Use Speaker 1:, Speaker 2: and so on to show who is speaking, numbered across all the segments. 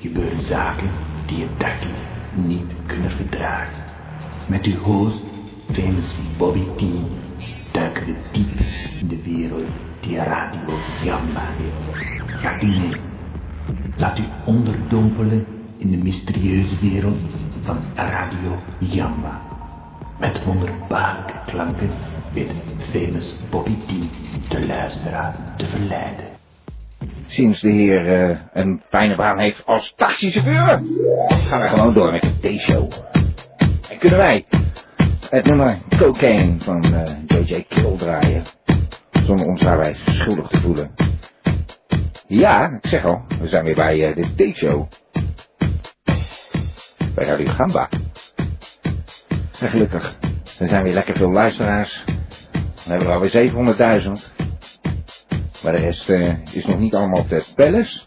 Speaker 1: gebeuren zaken die je dagelijks niet kunnen verdragen. Met uw host, famous Bobby T, duiken we diep in de wereld die Radio Jamba heeft. Gaat u mee. Laat u onderdompelen in de mysterieuze wereld van Radio Jamba. Met wonderbaarlijke klanken weet famous Bobby T de luisteraar te verleiden.
Speaker 2: Sinds de heer eh, een fijne baan heeft als taxichauffeur, gaan we gewoon door met de T-show. En kunnen wij het nummer Cocaine van eh, J.J. Kill draaien, zonder ons daarbij schuldig te voelen. Ja, ik zeg al, we zijn weer bij eh, de T-show. Bij Radio Gamba. En gelukkig, er zijn weer lekker veel luisteraars. We hebben er alweer 700.000. Maar de rest eh, is nog niet allemaal op de pelles.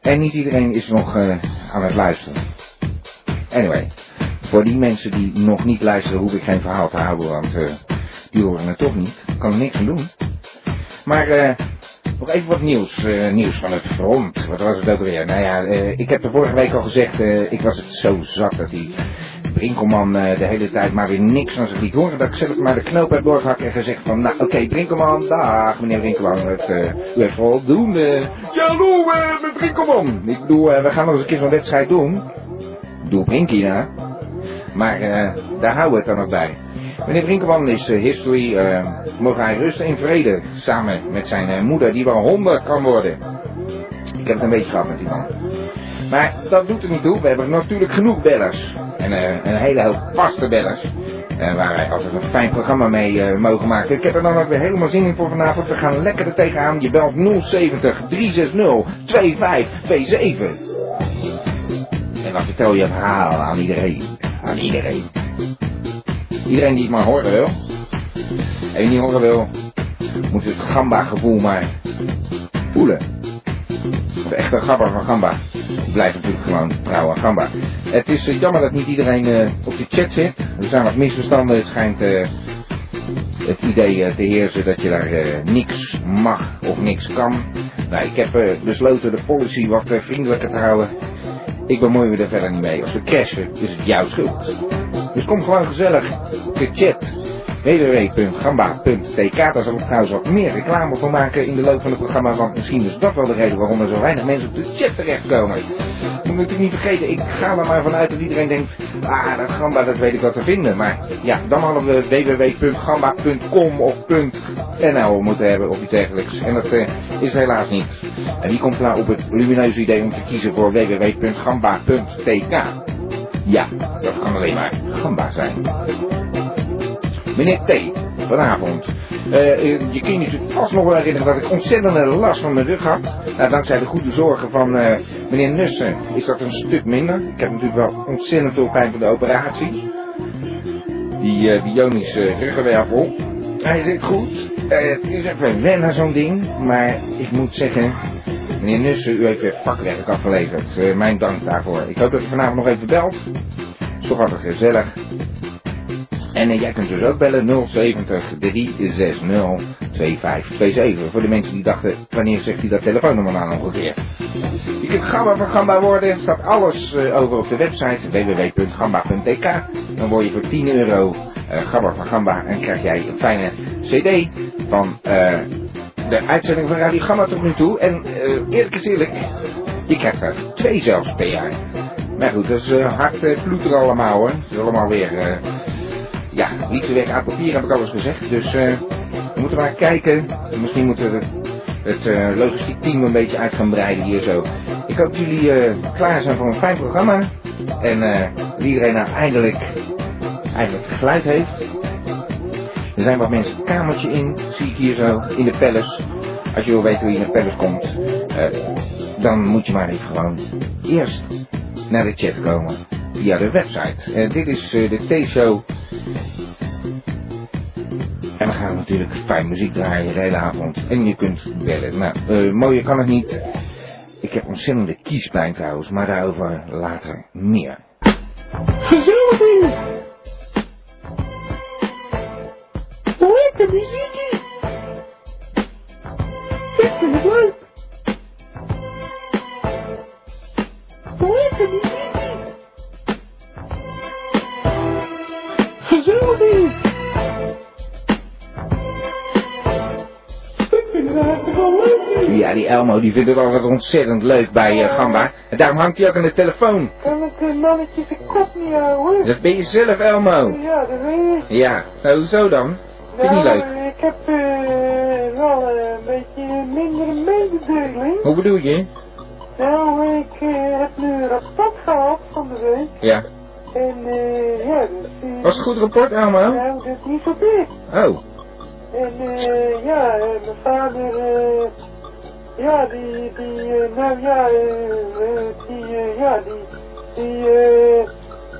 Speaker 2: En niet iedereen is nog eh, aan het luisteren. Anyway, voor die mensen die nog niet luisteren, hoef ik geen verhaal te houden, want eh, die horen het toch niet. Ik kan er niks aan doen. Maar eh, nog even wat nieuws. eh, nieuws van het front. Wat was het ook weer? Nou ja, eh, ik heb er vorige week al gezegd, eh, ik was het zo zat dat die Brinkelman eh, de hele tijd maar weer niks van zich liet horen. Dat ik zelf maar de knoop heb doorgehakt en gezegd van, nou oké Brinkelman, dag meneer Brinkelman, het, eh, u heeft voldoende. Ja, hallo eh, met Brinkelman. Ik bedoel, eh, we gaan nog eens een keer zo'n wedstrijd doen. Doe Brinkie na. Maar eh, daar houden we het dan ook bij. Meneer Brinkelman is eh, history. eh mogen hij rusten in vrede. Samen met zijn eh, moeder, die wel 100 kan worden. Ik heb het een beetje gehad met die man. Mhm. Maar dat doet er niet toe. We hebben natuurlijk genoeg bellers. En eh, een hele hoop vaste bellers. Eh, waar wij altijd een fijn programma mee eh, mogen maken. Ik heb er dan ook weer helemaal zin in voor vanavond. We gaan lekker er tegenaan. Je belt 070 360 2527. En dan vertel je een verhaal aan iedereen. Aan iedereen. Iedereen die het maar horen wil. En die niet horen wil, moet het gamba-gevoel maar voelen. De echte gamba van gamba. Ik blijf natuurlijk gewoon trouw aan gamba. Het is eh, jammer dat niet iedereen eh, op de chat zit. Er zijn wat misverstanden. Het schijnt eh, het idee eh, te heersen dat je daar eh, niks mag of niks kan. Nou, ik heb eh, besloten de policy wat eh, vriendelijker te houden. Ik bemoei me er verder niet mee. Als we crashen, is het jouw schuld. Dus kom gewoon gezellig te chat. www.gamba.tk Daar zal ik trouwens wat meer reclame voor maken in de loop van het programma. Want misschien is dat wel de reden waarom er zo weinig mensen op de chat terechtkomen. Je moet het niet vergeten, ik ga er maar vanuit dat iedereen denkt... Ah, dat Gamba, dat weet ik wat te vinden. Maar ja, dan hadden we www.gamba.com of .nl moeten hebben of iets dergelijks. En dat eh, is helaas niet. En wie komt nou op het lumineuze idee om te kiezen voor www.gamba.tk? Ja, dat kan alleen maar Gamba zijn. Meneer T, vanavond. Eh, eh, je kunt je vast nog wel herinneren dat ik ontzettende last van mijn rug had. Nou, dankzij de goede zorgen van eh, meneer Nussen is dat een stuk minder. Ik heb natuurlijk wel ontzettend veel pijn van de operatie. Die eh bionische ruggenwervel. Hij zit goed. Eh, het is even wennen zo'n ding. Maar ik moet zeggen, meneer Nussen, u heeft weer vakwerk afgeleverd. Eh, mijn dank daarvoor. Ik hoop dat u vanavond nog even belt. Is toch altijd gezellig. En eh, jij kunt dus ook bellen 070 360 2527. Voor de mensen die dachten, wanneer zegt hij dat telefoonnummer nou nog een keer? Je kunt gamba van gamba worden. Er staat alles eh, over op de website www.gamba.tk. Dan word je voor 10 euro eh gamba van gamba en krijg jij een fijne cd van eh, de uitzending van Radio Gamba tot nu toe. En eh, eerlijk is eerlijk, je krijgt er twee zelfs per jaar. Maar goed, dat is eh, hard eh, ploeteren allemaal hoor. Het is allemaal weer... eh, ja, liefde weg uit papier heb ik al eens gezegd. Dus eh, we moeten maar kijken. Misschien moeten we het eh, logistiek team een beetje uit gaan breiden hier zo. Ik hoop dat jullie eh, klaar zijn voor een fijn programma. En eh, dat iedereen nou eindelijk, eindelijk geluid heeft. Er zijn wat mensen een kamertje in, zie ik hier zo, in de palace. Als je wil weten hoe je in de palace komt, eh, dan moet je maar even gewoon eerst naar de chat komen. Via de website. Eh, dit is eh, de T-show en we gaan natuurlijk fijn muziek draaien de hele avond. En je kunt bellen. Nou, eh, mooier kan het niet. Ik heb ontzettende kiespijn trouwens, maar daarover later meer.
Speaker 3: Gezellig hier. Lekker muziekje. Ik vind het leuk. Hoe is de muziek? Gezellig hier. Ik vind het eigenlijk wel leuk hier.
Speaker 2: Ja, die Elmo die vindt het altijd ontzettend leuk bij eh, Gamba. En daarom hangt hij ook aan de telefoon.
Speaker 3: Kan het eh, mannetje zijn kop niet houden?
Speaker 2: Dat ben je zelf, Elmo.
Speaker 3: Ja, dat weet ik.
Speaker 2: Ja, nou, hoezo dan? Vind je niet leuk?
Speaker 3: Nou, ik heb eh, wel eh, een beetje minder mededeling.
Speaker 2: Hoe bedoel je?
Speaker 3: Nou, ik eh, heb nu een rapport gehad van de week.
Speaker 2: Ja.
Speaker 3: En eh, ja, dus... eh,
Speaker 2: Was het een goed rapport, Elmo?
Speaker 3: Nou, dat is niet zo best.
Speaker 2: Oh,
Speaker 3: En eh, ja, eh, mijn vader, eh, ja, die, die, eh, nou ja, eh, eh, die, eh, ja, die, die, eh,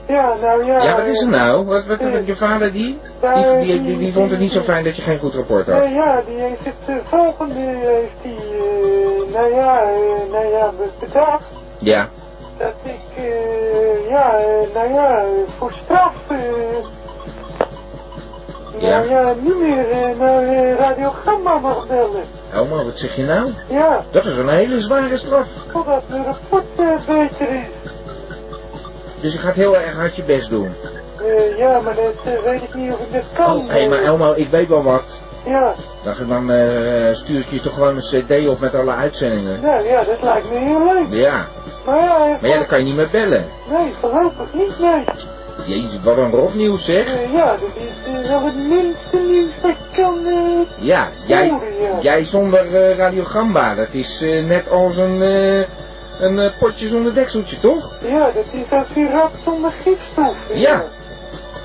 Speaker 3: ja, nou ja.
Speaker 2: ja, wat is er
Speaker 3: eh,
Speaker 2: nou? Wat, wat wat- je vader die? Die, die, die, die vond het niet zo fijn dat je geen goed rapport had.
Speaker 3: Nou ja, die heeft het eh, volgende, heeft die, eh, nou ja, eh, nou ja, bedacht
Speaker 2: Ja.
Speaker 3: dat ik, eh, ja, eh, nou ja, eh, voor straf, eh,
Speaker 2: Ja.
Speaker 3: nou ja, niet meer eh, naar eh, Radio Gamma mag bellen.
Speaker 2: Elmo, wat zeg je nou?
Speaker 3: Ja,
Speaker 2: Dat is een hele zware straf.
Speaker 3: totdat de rapport eh, beter is.
Speaker 2: Dus je gaat heel erg hard je best doen.
Speaker 3: Eh, ja, maar dat eh, weet ik niet of ik dat kan. eh,
Speaker 2: Oh, hé, maar Elmo, ik weet wel wat.
Speaker 3: Ja,
Speaker 2: Dan, dan eh, stuur ik je toch gewoon een cd op met alle uitzendingen.
Speaker 3: nou ja, dat lijkt me heel leuk.
Speaker 2: Ja,
Speaker 3: Maar ja, eh,
Speaker 2: maar ja, dan kan je niet meer bellen.
Speaker 3: nee, voorlopig niet, nee.
Speaker 2: Jezus, wat een rotnieuws zeg.
Speaker 3: Eh, ja, dat is eh, wel het minste nieuws dat ik kan... eh,
Speaker 2: Ja, jij,
Speaker 3: horen, Oh, ja.
Speaker 2: jij zonder eh, Radio Gamba, dat is eh, net als een, eh, een eh, potje zonder dekseltje, toch?
Speaker 3: Ja, dat is als die rat zonder gifstof. eh.
Speaker 2: Ja.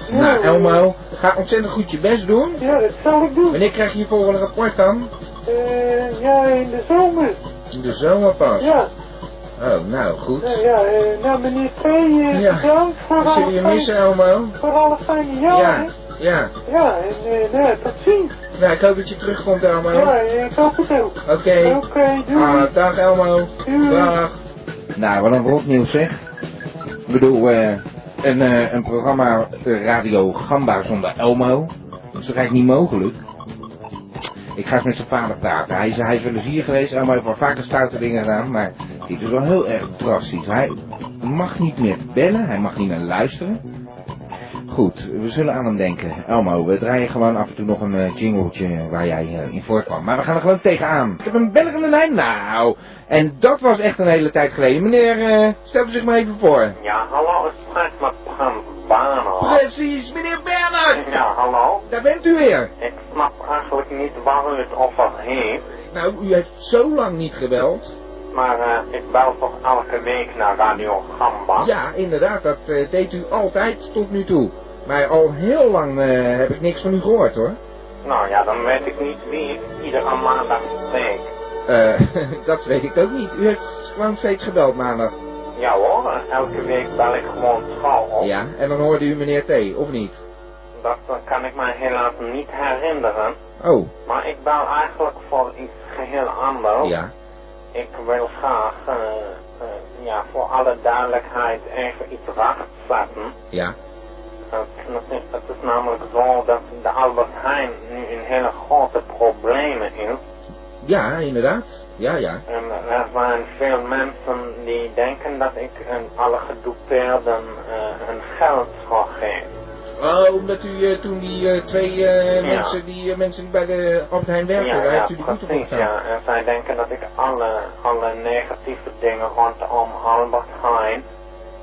Speaker 3: Ja,
Speaker 2: Nou,
Speaker 3: eh,
Speaker 2: Elmo, ga ontzettend goed je best doen.
Speaker 3: Ja, dat zal ik doen.
Speaker 2: Wanneer krijg je je volgende rapport dan?
Speaker 3: Eh, ja, in de zomer.
Speaker 2: In de zomer pas.
Speaker 3: Ja,
Speaker 2: Oh, nou,
Speaker 3: nou
Speaker 2: Ah, goed.
Speaker 3: ja, eh, nou meneer P, eh,
Speaker 2: Ja.
Speaker 3: bedankt voor
Speaker 2: Wat zullen
Speaker 3: alle,
Speaker 2: je
Speaker 3: fijne,
Speaker 2: missen, Elmo?
Speaker 3: voor alle fijne jaren.
Speaker 2: Ja, ja.
Speaker 3: Ja, en eh, nou ja, tot ziens.
Speaker 2: Nou, ik hoop dat je terugkomt, Elmo.
Speaker 3: Ja, eh, ik hoop het ook.
Speaker 2: Oké.
Speaker 3: Oké, doei.
Speaker 2: Ah, dag Elmo.
Speaker 3: Doei.
Speaker 2: Dag. Nou, wat een rotnieuws zeg. Ik bedoel, eh, een, eh, een programma eh, Radio Gamba zonder Elmo. Dat is toch eigenlijk niet mogelijk? Ik ga eens met zijn vader praten. Hij is, hij is wel eens hier geweest. Elmo heeft wel vaker stoute dingen gedaan. Maar dit is wel heel erg drastisch. Hij mag niet meer bellen. Hij mag niet meer luisteren. Goed, we zullen aan hem denken. Elmo, we draaien gewoon af en toe nog een eh, jingletje waar jij eh, in voorkwam. Maar we gaan er gewoon tegenaan. Ik heb een beller in de lijn. Nou, en dat was echt een hele tijd geleden. Meneer, eh, stelt u zich maar even voor.
Speaker 4: Ja, hallo, het spreekt met Prins Bernhard.
Speaker 2: Precies, meneer Bernhard.
Speaker 4: Ja, hallo.
Speaker 2: Daar bent u weer.
Speaker 4: Ik snap eigenlijk niet waar u het over heeft,
Speaker 2: Nou, u heeft zo lang niet gebeld.
Speaker 4: maar eh, ik bel toch elke week naar Radio Gamba.
Speaker 2: Ja, inderdaad, dat eh, deed u altijd tot nu toe. Maar al heel lang eh, heb ik niks van u gehoord hoor.
Speaker 4: Nou ja, dan weet ik niet wie ik iedere maandag spreek.
Speaker 2: Eh, dat weet ik ook niet. U heeft gewoon steeds gebeld maandag.
Speaker 4: Ja hoor, en elke week bel ik gewoon trouw op.
Speaker 2: Ja, en dan hoorde u meneer T, of niet?
Speaker 4: Dat eh, kan ik me helaas niet herinneren,
Speaker 2: Oh,
Speaker 4: maar ik bel eigenlijk voor iets geheel anders.
Speaker 2: ja.
Speaker 4: Ik wil graag eh, eh, ja, voor alle duidelijkheid even iets rechtzetten.
Speaker 2: Ja.
Speaker 4: Het is- het is namelijk zo dat de Albert Heijn nu in hele grote problemen is.
Speaker 2: Ja, inderdaad. Ja, ja.
Speaker 4: En er zijn veel mensen die denken dat ik aan alle gedupeerden eh, hun geld zou geven.
Speaker 2: Oh, omdat u eh, toen die eh, twee eh,
Speaker 4: Ja.
Speaker 2: mensen, die, eh, mensen die bij de Albert Heijn werken, daar heeft u de boete voor
Speaker 4: precies.
Speaker 2: gedaan.
Speaker 4: Ja. En zij denken dat ik alle, alle negatieve dingen rondom Albert Heijn.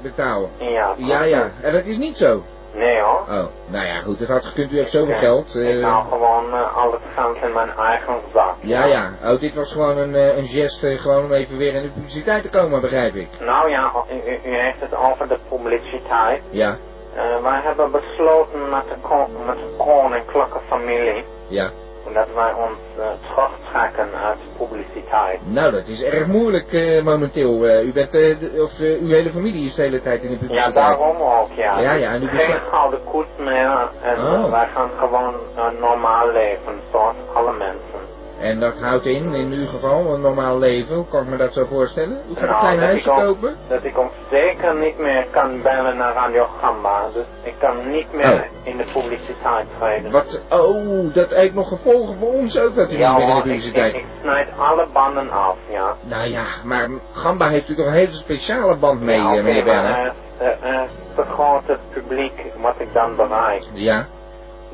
Speaker 2: Betalen.
Speaker 4: Ja,
Speaker 2: Ja, ja. En dat is niet zo.
Speaker 4: Nee hoor.
Speaker 2: Oh, nou ja, goed. Het had gekund. U heeft zoveel
Speaker 4: Ja,
Speaker 2: geld. eh,
Speaker 4: Ik hou gewoon eh, al het geld in mijn eigen zak.
Speaker 2: ja, ja. Oh, dit was gewoon een, eh, een gest, eh, gewoon om even weer in de publiciteit te komen, begrijp ik.
Speaker 4: Nou ja, u, u- u heeft het over de publiciteit.
Speaker 2: Ja,
Speaker 4: Eh, wij hebben besloten met de, kon- met de koninklijke familie
Speaker 2: ja.
Speaker 4: dat wij ons eh, terugtrekken uit publiciteit.
Speaker 2: Nou, dat is erg moeilijk eh, momenteel. Eh, u bent, eh, de- of eh, uw hele familie is de hele tijd in de publiciteit.
Speaker 4: Ja, daarom ook, ja.
Speaker 2: Ja, ja, en u
Speaker 4: Geen
Speaker 2: besluit-
Speaker 4: gouden koets meer en eh,
Speaker 2: Oh.
Speaker 4: wij gaan gewoon eh, normaal leven, zoals alle mensen.
Speaker 2: En dat houdt in, in uw geval, een normaal leven. Hoe kan ik me dat zo voorstellen? U gaat een klein
Speaker 4: Nou, dat ik,
Speaker 2: huisje
Speaker 4: ook,
Speaker 2: kopen?
Speaker 4: dat ik ook zeker niet meer kan bellen naar Radio Gamba. Dus ik kan niet meer in de publiciteit treden.
Speaker 2: Oh. Wat, oh, dat heeft nog gevolgen voor ons ook dat u
Speaker 4: ja,
Speaker 2: niet meer in
Speaker 4: hoor,
Speaker 2: de
Speaker 4: ik,
Speaker 2: publiciteit...
Speaker 4: ik, ik snijd alle banden af, ja.
Speaker 2: Nou ja, maar Gamba heeft u toch een hele speciale band mee,
Speaker 4: ja,
Speaker 2: eh,
Speaker 4: oké,
Speaker 2: meneer
Speaker 4: maar,
Speaker 2: Berner?
Speaker 4: eh, eh, eh, het vergroot het publiek wat ik dan bereik.
Speaker 2: Ja,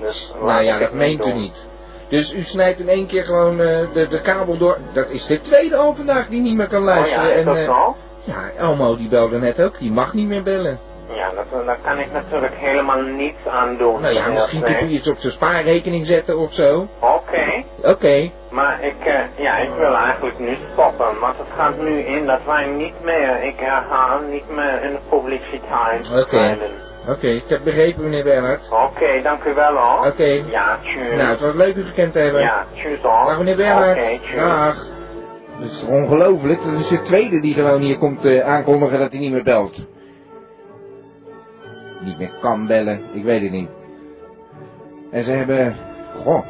Speaker 4: Dus laat
Speaker 2: nou ja,
Speaker 4: ik
Speaker 2: dat
Speaker 4: het
Speaker 2: meent u
Speaker 4: doen. Oh
Speaker 2: niet. Dus u snijdt in één keer gewoon eh, de, de kabel door. Dat is de tweede al vandaag die niet meer kan
Speaker 4: Oh
Speaker 2: luisteren.
Speaker 4: ja, is
Speaker 2: en,
Speaker 4: dat
Speaker 2: eh,
Speaker 4: zo?
Speaker 2: ja, Elmo die belde net ook, die mag niet meer bellen.
Speaker 4: Ja, dat, daar kan ik natuurlijk helemaal niets aan doen. Dus,
Speaker 2: Nou ja,
Speaker 4: heel
Speaker 2: misschien kunt u
Speaker 4: slecht.
Speaker 2: iets op zijn spaarrekening zetten of zo.
Speaker 4: Oké.
Speaker 2: Oké,
Speaker 4: Maar ik, eh, ja, ik wil eigenlijk nu stoppen, want het gaat nu in dat wij niet meer, ik herhaal, niet meer in de publiciteit
Speaker 2: Oké.
Speaker 4: treden.
Speaker 2: oké, ik heb begrepen meneer Bernhard.
Speaker 4: Oké, dank u wel hoor.
Speaker 2: Oké.
Speaker 4: Ja, tjus.
Speaker 2: Nou, het was leuk u gekend te hebben.
Speaker 4: ja, tjus hoor.
Speaker 2: Dag meneer
Speaker 4: Oké,
Speaker 2: Bernhard.
Speaker 4: tjus.
Speaker 2: Dag. Dat is toch ongelooflijk? Dat is de tweede die gewoon hier komt eh, aankondigen dat hij niet meer belt. Niet meer kan bellen, ik weet het niet. En ze hebben... Goh,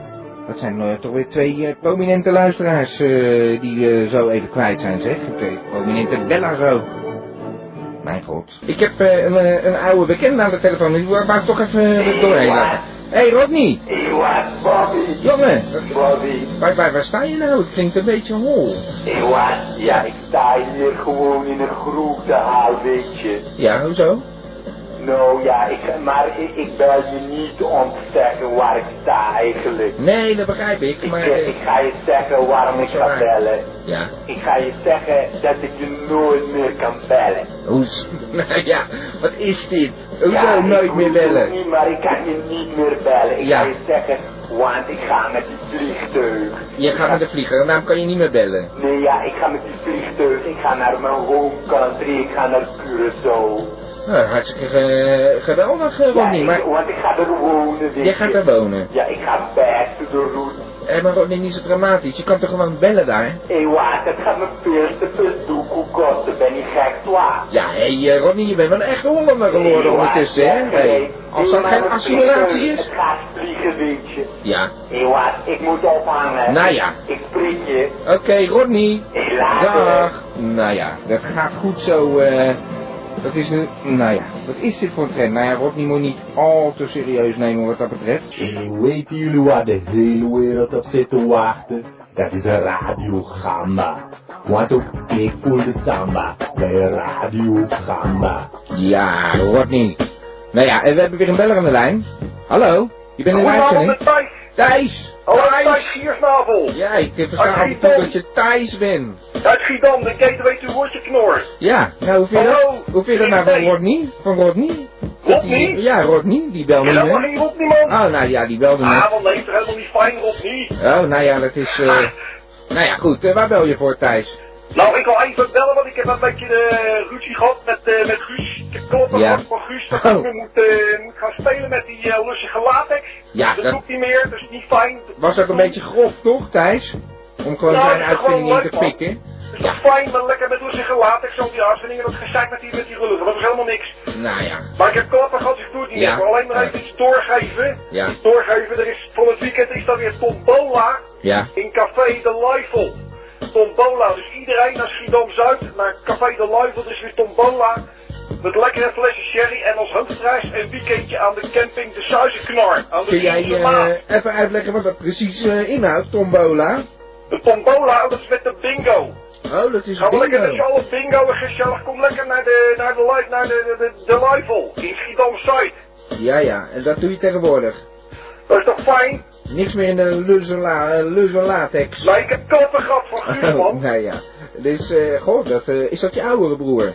Speaker 2: dat zijn eh, toch weer twee eh, prominente luisteraars eh, die eh, zo even kwijt zijn, zeg. Twee prominente bellers ook. Mijn god. Ik heb eh, een, eh, een oude bekende aan de telefoon, die wou ik toch even eh, doorheen laten. Hé hey, Rodney,
Speaker 5: Hey, what, Bobby?
Speaker 2: jongen,
Speaker 5: Bobby,
Speaker 2: Waar, waar, waar sta je nou? Het klinkt een beetje hol.
Speaker 5: hey, what? Ja, ik sta hier gewoon in een groep te halen, weet je.
Speaker 2: Ja, hoezo?
Speaker 5: Nou ja, ik, maar ik, ik bel je niet om te zeggen waar ik sta eigenlijk.
Speaker 2: Nee, dat begrijp ik,
Speaker 5: Ik,
Speaker 2: maar...
Speaker 5: ik
Speaker 2: eh,
Speaker 5: ga je zeggen waarom ik ga bellen.
Speaker 2: ja,
Speaker 5: Ik ga je zeggen dat ik je nooit meer kan bellen.
Speaker 2: hoes... Nou ja, wat is dit? Hoezo
Speaker 5: Ja, ik
Speaker 2: nooit meer
Speaker 5: hoef het
Speaker 2: bellen?
Speaker 5: Niet, maar ik kan je niet meer bellen. Ik
Speaker 2: Ja.
Speaker 5: ga je zeggen, want ik ga met die vliegtuig.
Speaker 2: Je gaat met de vlieger, en daarom kan je niet meer bellen.
Speaker 5: Nee, ja, ik ga met die vliegtuig. Ik ga naar mijn home country. Ik ga naar Curaçao.
Speaker 2: Nou, hartstikke eh, geweldig, eh,
Speaker 5: Ja,
Speaker 2: Rodney,
Speaker 5: ik-
Speaker 2: maar...
Speaker 5: want ik ga er wonen, weet
Speaker 2: Jij gaat
Speaker 5: je.
Speaker 2: daar wonen.
Speaker 5: Ja, ik ga back to the roots.
Speaker 2: Eh, maar Rodney, niet zo dramatisch. Je kan toch gewoon bellen daar?
Speaker 5: Hé, wacht, dat gaat me veel te veel doekoe kosten. Ben je gek, twa?
Speaker 2: Ja, hé, eh, Rodney, je bent wel een echte Hollander geworden ondertussen, hè? Hey, als dat geen assimilatie
Speaker 5: Het
Speaker 2: is...
Speaker 5: gaat vliegen, weet je.
Speaker 2: Ja.
Speaker 5: Hé, wacht, ik moet ophangen.
Speaker 2: Nou ja.
Speaker 5: Ik spreek je.
Speaker 2: Oké, Rodney.
Speaker 5: Hé, later.
Speaker 2: Dag. Nou ja, dat gaat goed zo. eh. dat is een. Nou ja, wat is dit voor een trend? Nou ja, Rodney moet niet al te serieus nemen wat dat betreft.
Speaker 5: En weten jullie waar de hele wereld op zit te wachten? Dat is een Radio Gamma. Want ook ik voel de samba bij Radio Gamma.
Speaker 2: Ja, Rodney. Nou ja, en we hebben weer een beller aan de lijn. Hallo, je bent in de
Speaker 6: Goedenavond,
Speaker 2: uitzending.
Speaker 6: Thijs.
Speaker 2: Thijs!
Speaker 6: Hallo,
Speaker 2: Thijs!
Speaker 6: Thijs Giersnavel.
Speaker 2: Ja, ik versta af en toe dat je Thijs bent.
Speaker 6: Uit Schiedam, de gateway to Worcesterknor.
Speaker 2: Ja, nou hoe vind je
Speaker 6: Hallo.
Speaker 2: dat? Hoe vind je dat nou van Rodney? Van Rodney? Dat die-
Speaker 6: Rodney?
Speaker 2: Ja, Rodney, die belde niet.
Speaker 6: Helemaal
Speaker 2: hè?
Speaker 6: geen Rodney, man.
Speaker 2: Oh, nou ja, die belde net.
Speaker 6: Ah, want nee, toch helemaal niet fijn, Rodney.
Speaker 2: Oh, nou ja, dat is... eh, Nou ja, goed. eh, waar bel je voor, Thijs?
Speaker 6: Nou, ik wil even bellen, want ik heb een beetje de ruzie gehad met, eh, met Guus. Ik heb kloppen
Speaker 2: Ja.
Speaker 6: gehad van Guus dat
Speaker 2: Oh.
Speaker 6: ik weer moet, eh, moet gaan spelen met die eh, lussige latex.
Speaker 2: Ja,
Speaker 6: dat
Speaker 2: dat-
Speaker 6: doet hij meer, dat is niet fijn. Dat
Speaker 2: Was ook een beetje grof, toch, Thijs? Om gewoon
Speaker 6: Ja,
Speaker 2: zijn
Speaker 6: dat is
Speaker 2: uitvinding
Speaker 6: gewoon
Speaker 2: in te
Speaker 6: leuk, man.
Speaker 2: pikken.
Speaker 6: is toch fijn, maar lekker met lussige latex, zo die uitvindingen, dat gezeik met die, met die rulligen, dat is helemaal niks.
Speaker 2: Nou ja,
Speaker 6: Maar ik heb klappen gehad, ik doe het niet
Speaker 2: Ja.
Speaker 6: meer. Alleen maar even
Speaker 2: Ja.
Speaker 6: iets doorgeven.
Speaker 2: Ja.
Speaker 6: Iets doorgeven, er is, van het weekend is dat weer Tombola
Speaker 2: ja.
Speaker 6: in Café de Luifel. Tombola, dus iedereen naar Schiedam-Zuid, naar Café de Luifel, dus weer Tombola. Met lekkere flessen sherry en als hoofdprijs een weekendje aan de camping de Suizenknar. Aan de
Speaker 2: Kun jij
Speaker 6: Friese
Speaker 2: eh,
Speaker 6: Maas.
Speaker 2: even uitleggen wat dat precies eh, inhoudt, Tombola?
Speaker 6: De Tombola, dat is met de bingo.
Speaker 2: Oh, dat is
Speaker 6: Gaan we lekker met z'n
Speaker 2: bingo.
Speaker 6: allen bingo en gezellig. Kom lekker naar de, naar de, Lui- naar de, de, de, de Luifel in Schiedam-Zuid.
Speaker 2: Ja, ja. En dat doe je tegenwoordig.
Speaker 6: Dat is toch fijn?
Speaker 2: Niks meer in de lus en, la, eh, lus en latex.
Speaker 6: Maar ik heb klappen gehad van Guus,
Speaker 2: Oh,
Speaker 6: man.
Speaker 2: nou ja. Dus, eh goh, dat, eh, is dat je oudere broer?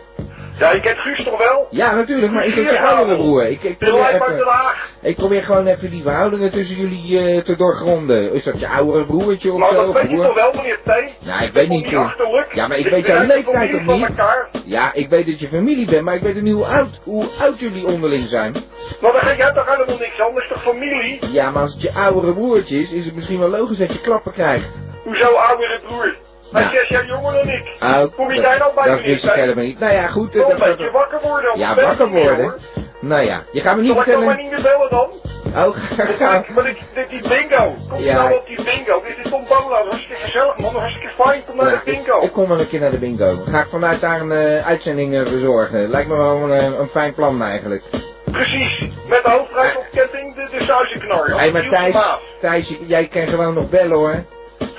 Speaker 6: Ja, je kent Guus toch wel?
Speaker 2: Ja, natuurlijk, maar is dat je
Speaker 6: Giersnavel.
Speaker 2: oudere broer? Ik, ik,
Speaker 6: De
Speaker 2: probeer
Speaker 6: lijp uit Den
Speaker 2: even,
Speaker 6: Haag.
Speaker 2: ik probeer gewoon even die verhoudingen tussen jullie eh, te doorgronden. Is dat je oudere broertje of
Speaker 6: Maar
Speaker 2: zo?
Speaker 6: Nou, dat weet je
Speaker 2: broer?
Speaker 6: toch wel, meneer T?
Speaker 2: Ja, ik weet niet.
Speaker 6: Niet achterlijk.
Speaker 2: Ja, maar ik
Speaker 6: Dus
Speaker 2: weet
Speaker 6: we zijn
Speaker 2: jouw
Speaker 6: de
Speaker 2: leeftijd
Speaker 6: familie
Speaker 2: toch
Speaker 6: van
Speaker 2: niet?
Speaker 6: elkaar.
Speaker 2: Ja, ik weet dat je familie bent, maar ik weet niet hoe oud, hoe oud jullie onderling zijn.
Speaker 6: Maar dan ga jij toch helemaal niks anders, toch familie?
Speaker 2: Ja, maar als het je oudere broertje is, is het misschien wel logisch dat je klappen krijgt.
Speaker 6: Hoezo oudere broer? Hij
Speaker 2: Ja.
Speaker 6: is zes jaar jonger dan ik.
Speaker 2: Oh,
Speaker 6: Kom je
Speaker 2: dat-
Speaker 6: daar nou bij,
Speaker 2: Dat
Speaker 6: meneer
Speaker 2: wist ik
Speaker 6: Stijn?
Speaker 2: helemaal niet. Nou ja, goed. eh,
Speaker 6: Wel een
Speaker 2: dat-
Speaker 6: beetje wakker worden.
Speaker 2: ja,
Speaker 6: bent
Speaker 2: wakker
Speaker 6: niet meer,
Speaker 2: worden.
Speaker 6: hoor.
Speaker 2: Nou ja, je gaat me niet
Speaker 6: Zal ik dan
Speaker 2: vertellen...
Speaker 6: maar
Speaker 2: Oh,
Speaker 6: niet meer bellen dan?
Speaker 2: Ook.
Speaker 7: Kijk, maar dit, dit die bingo. Kom
Speaker 2: Ja.
Speaker 7: nou op die bingo. Dit is Tom
Speaker 6: nou,
Speaker 7: Bola. Hartstikke gezellig, man. Hartstikke fijn. Kom naar de bingo.
Speaker 2: Ik kom wel een keer naar de bingo. Ga ik vanuit daar een eh, uitzending eh, verzorgen. Lijkt me wel een, eh, een fijn plan eigenlijk.
Speaker 7: Precies. Met de hoofdrijf op ketting de, de suizenknar.
Speaker 2: Hé, maar Thijs, Thijs, j- jij kan gewoon nog bellen hoor.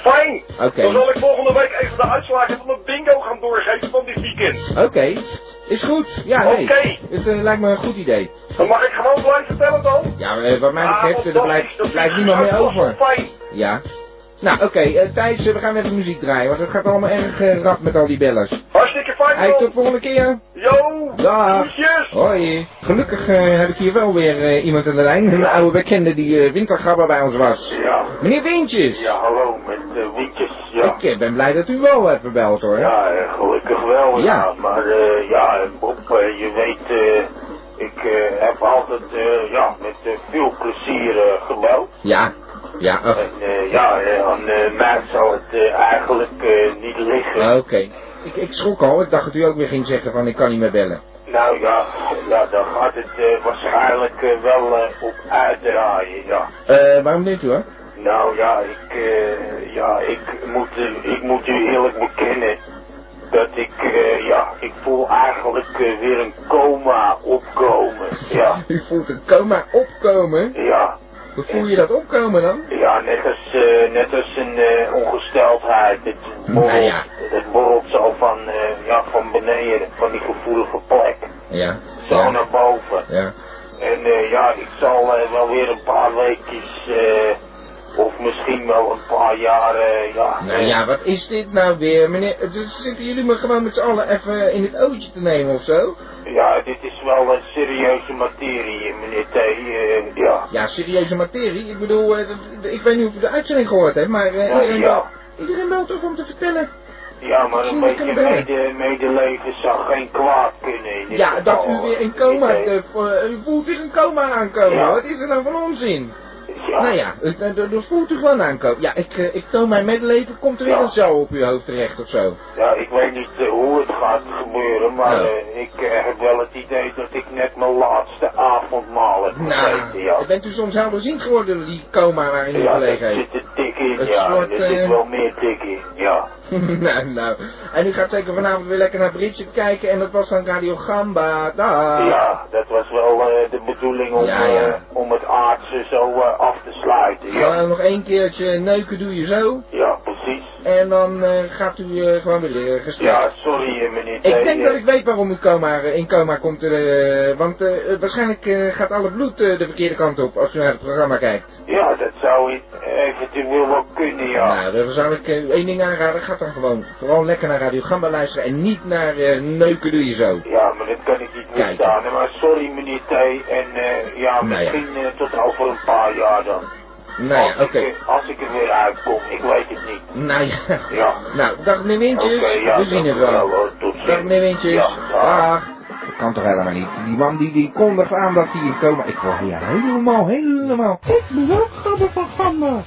Speaker 7: Fijn.
Speaker 2: Oké.
Speaker 7: Dan zal ik volgende week even de uitslagen van de bingo gaan doorgeven van dit weekend.
Speaker 2: Oké. Is goed. Ja, nee.
Speaker 7: Oké.
Speaker 2: Het eh, lijkt me een goed idee.
Speaker 7: Dan mag ik gewoon blijven vertellen dan?
Speaker 2: Ja, maar, eh, wat mij
Speaker 7: Ah,
Speaker 2: betreft,
Speaker 7: want
Speaker 2: eh,
Speaker 7: dat
Speaker 2: er blijft,
Speaker 7: is- dat
Speaker 2: er blijft
Speaker 7: is
Speaker 2: niemand meer
Speaker 7: gewoon
Speaker 2: over.
Speaker 7: Fijn.
Speaker 2: Ja. Nou, oké. eh, Thijs, eh, we gaan even muziek draaien, want het gaat allemaal erg eh, rap met al die bellers.
Speaker 7: Hartstikke fijn,
Speaker 2: Hey,
Speaker 7: man.
Speaker 2: tot volgende keer.
Speaker 7: Yo.
Speaker 2: Dag.
Speaker 7: Groetjes.
Speaker 2: Hoi. Gelukkig eh, heb ik hier wel weer eh, iemand aan de lijn. Een oude bekende die eh, wintergrabber bij ons was.
Speaker 8: Ja,
Speaker 2: Meneer Wintjes.
Speaker 8: ja, hallo, met de windjes, ja.
Speaker 2: Ik eh, ben blij dat u wel hebt gebeld hoor.
Speaker 8: Ja, eh, gelukkig wel. Ja.
Speaker 2: Ja.
Speaker 8: maar eh, ja, eh, Bob, eh, je weet, eh, ik eh, heb altijd eh, ja, met eh, veel plezier eh, gebeld.
Speaker 2: Ja. Ja,
Speaker 8: En
Speaker 2: ach,
Speaker 8: eh, ja, eh, aan eh, mij zal het eh, eigenlijk eh, niet liggen.
Speaker 2: oké. Ik, ik schrok al. Ik dacht dat u ook weer ging zeggen van ik kan niet meer bellen.
Speaker 8: Nou ja, ja, dan gaat het eh, waarschijnlijk eh, wel eh, op uitdraaien, ja.
Speaker 2: Eh, waarom dit hoor?
Speaker 8: Nou ja, ik, eh, ja, ik, moet, eh, ik moet u eerlijk bekennen dat ik, eh, ja, ik voel eigenlijk eh, weer een coma opkomen. Ja,
Speaker 2: U voelt een coma opkomen.
Speaker 8: ja,
Speaker 2: Hoe voel je dat opkomen dan?
Speaker 8: ja, net als, eh, net als een eh, ongesteldheid. Het borrelt,
Speaker 2: Nou ja.
Speaker 8: het borrelt zo van, eh, ja, van beneden, van die gevoelige plek,
Speaker 2: Ja.
Speaker 8: zo
Speaker 2: Ja.
Speaker 8: naar boven.
Speaker 2: ja.
Speaker 8: En eh, ja, ik zal eh, wel weer een paar weekjes, eh, of misschien wel een paar jaar, eh, ja.
Speaker 2: Nou
Speaker 8: eh,
Speaker 2: ja, wat is dit nou weer, meneer? Eh, dus Zitten jullie me gewoon met z'n allen even in het ootje te nemen of zo?
Speaker 8: Ja, dit is wel een serieuze materie, meneer T. eh, ja.
Speaker 2: Ja, serieuze materie. Ik bedoel, eh, dat- ik weet niet of u de uitzending gehoord hebt, maar eh,
Speaker 8: Ja,
Speaker 2: iedereen,
Speaker 8: Oh, ja.
Speaker 2: belt, iedereen belt toch om te vertellen.
Speaker 8: ja, maar een
Speaker 2: Misschien
Speaker 8: beetje
Speaker 2: kunnen we
Speaker 8: mede, medeleven zou geen kwaad kunnen. in dit
Speaker 2: Ja, dat u
Speaker 8: geval,
Speaker 2: weer in
Speaker 8: eh,
Speaker 2: coma
Speaker 8: meneer T.
Speaker 2: hebt, eh, u voelt weer een coma aankomen.
Speaker 8: Ja.
Speaker 2: Wat is er nou van onzin?
Speaker 8: Ja,
Speaker 2: Nou ja, eh, eh, dat dat voelt u gewoon aankomen. Ja, ik, eh, ik toon mijn medeleven, komt er weer
Speaker 8: Ja.
Speaker 2: een zo op uw hoofd terecht of zo.
Speaker 8: ja, ik weet niet eh, hoe het gaat gebeuren, maar
Speaker 2: Nou.
Speaker 8: eh, ik eh, heb wel het idee dat ik net mijn laatste avondmaal heb
Speaker 2: Nou,
Speaker 8: gegeten, ja.
Speaker 2: bent u soms helderziend geworden door die coma waarin u
Speaker 8: Ja, dat
Speaker 2: gelegen heeft?
Speaker 8: zit een tik in,
Speaker 2: Het
Speaker 8: ja.
Speaker 2: soort,
Speaker 8: er zit
Speaker 2: eh,
Speaker 8: wel meer tik in, ja.
Speaker 2: nou, nou. En u gaat zeker vanavond weer lekker naar Bridget kijken en dat was dan Radio Gamba. Dag.
Speaker 8: Ja, dat was wel eh, de bedoeling om,
Speaker 2: Ah. Ja, ja. Ah,
Speaker 8: eh, om het aardse zo eh, af te sluiten. Ja,
Speaker 2: Gewoon nog één keertje neuken doe je zo.
Speaker 8: ja precies.
Speaker 2: En dan eh, gaat u eh, gewoon weer eh, geslapen.
Speaker 8: Ja, sorry eh, meneer T.
Speaker 2: Ik denk
Speaker 8: eh,
Speaker 2: dat ik weet waarom u coma, eh, in coma komt. eh, want eh, eh, waarschijnlijk eh, gaat alle bloed eh, de verkeerde kant op als u naar het programma kijkt.
Speaker 8: Ja, dat zou i- eventueel wel kunnen, ja.
Speaker 2: Nou, dan zou ik eh, u één ding aanraden. Ga dan gewoon vooral lekker naar Radio Gamba luisteren en niet naar eh, neuken doe je zo.
Speaker 8: Ja, maar dat kan ik niet
Speaker 2: Kijk.
Speaker 8: weerstaan. Maar sorry meneer T. En eh,
Speaker 2: Nou ja.
Speaker 8: ja, misschien eh, tot over een paar jaar dan.
Speaker 2: Nou ja,
Speaker 8: als,
Speaker 2: oké.
Speaker 8: ik, eh, als ik er weer uitkom, ik weet het niet.
Speaker 2: Nou ja.
Speaker 8: Ja.
Speaker 2: Nou, dag meneer
Speaker 8: Oké,
Speaker 2: Wintjes.
Speaker 8: ja,
Speaker 2: We zien
Speaker 8: dank
Speaker 2: het
Speaker 8: u
Speaker 2: wel.
Speaker 8: hoor. Tot ziens.
Speaker 2: Dag meneer Wintjes.
Speaker 8: Ja, dag.
Speaker 2: Dat kan toch helemaal niet. Die man die, die kondigt aan dat hij in coma... Ik word hier helemaal, helemaal...
Speaker 3: Ik ben ook gabber van Gamba.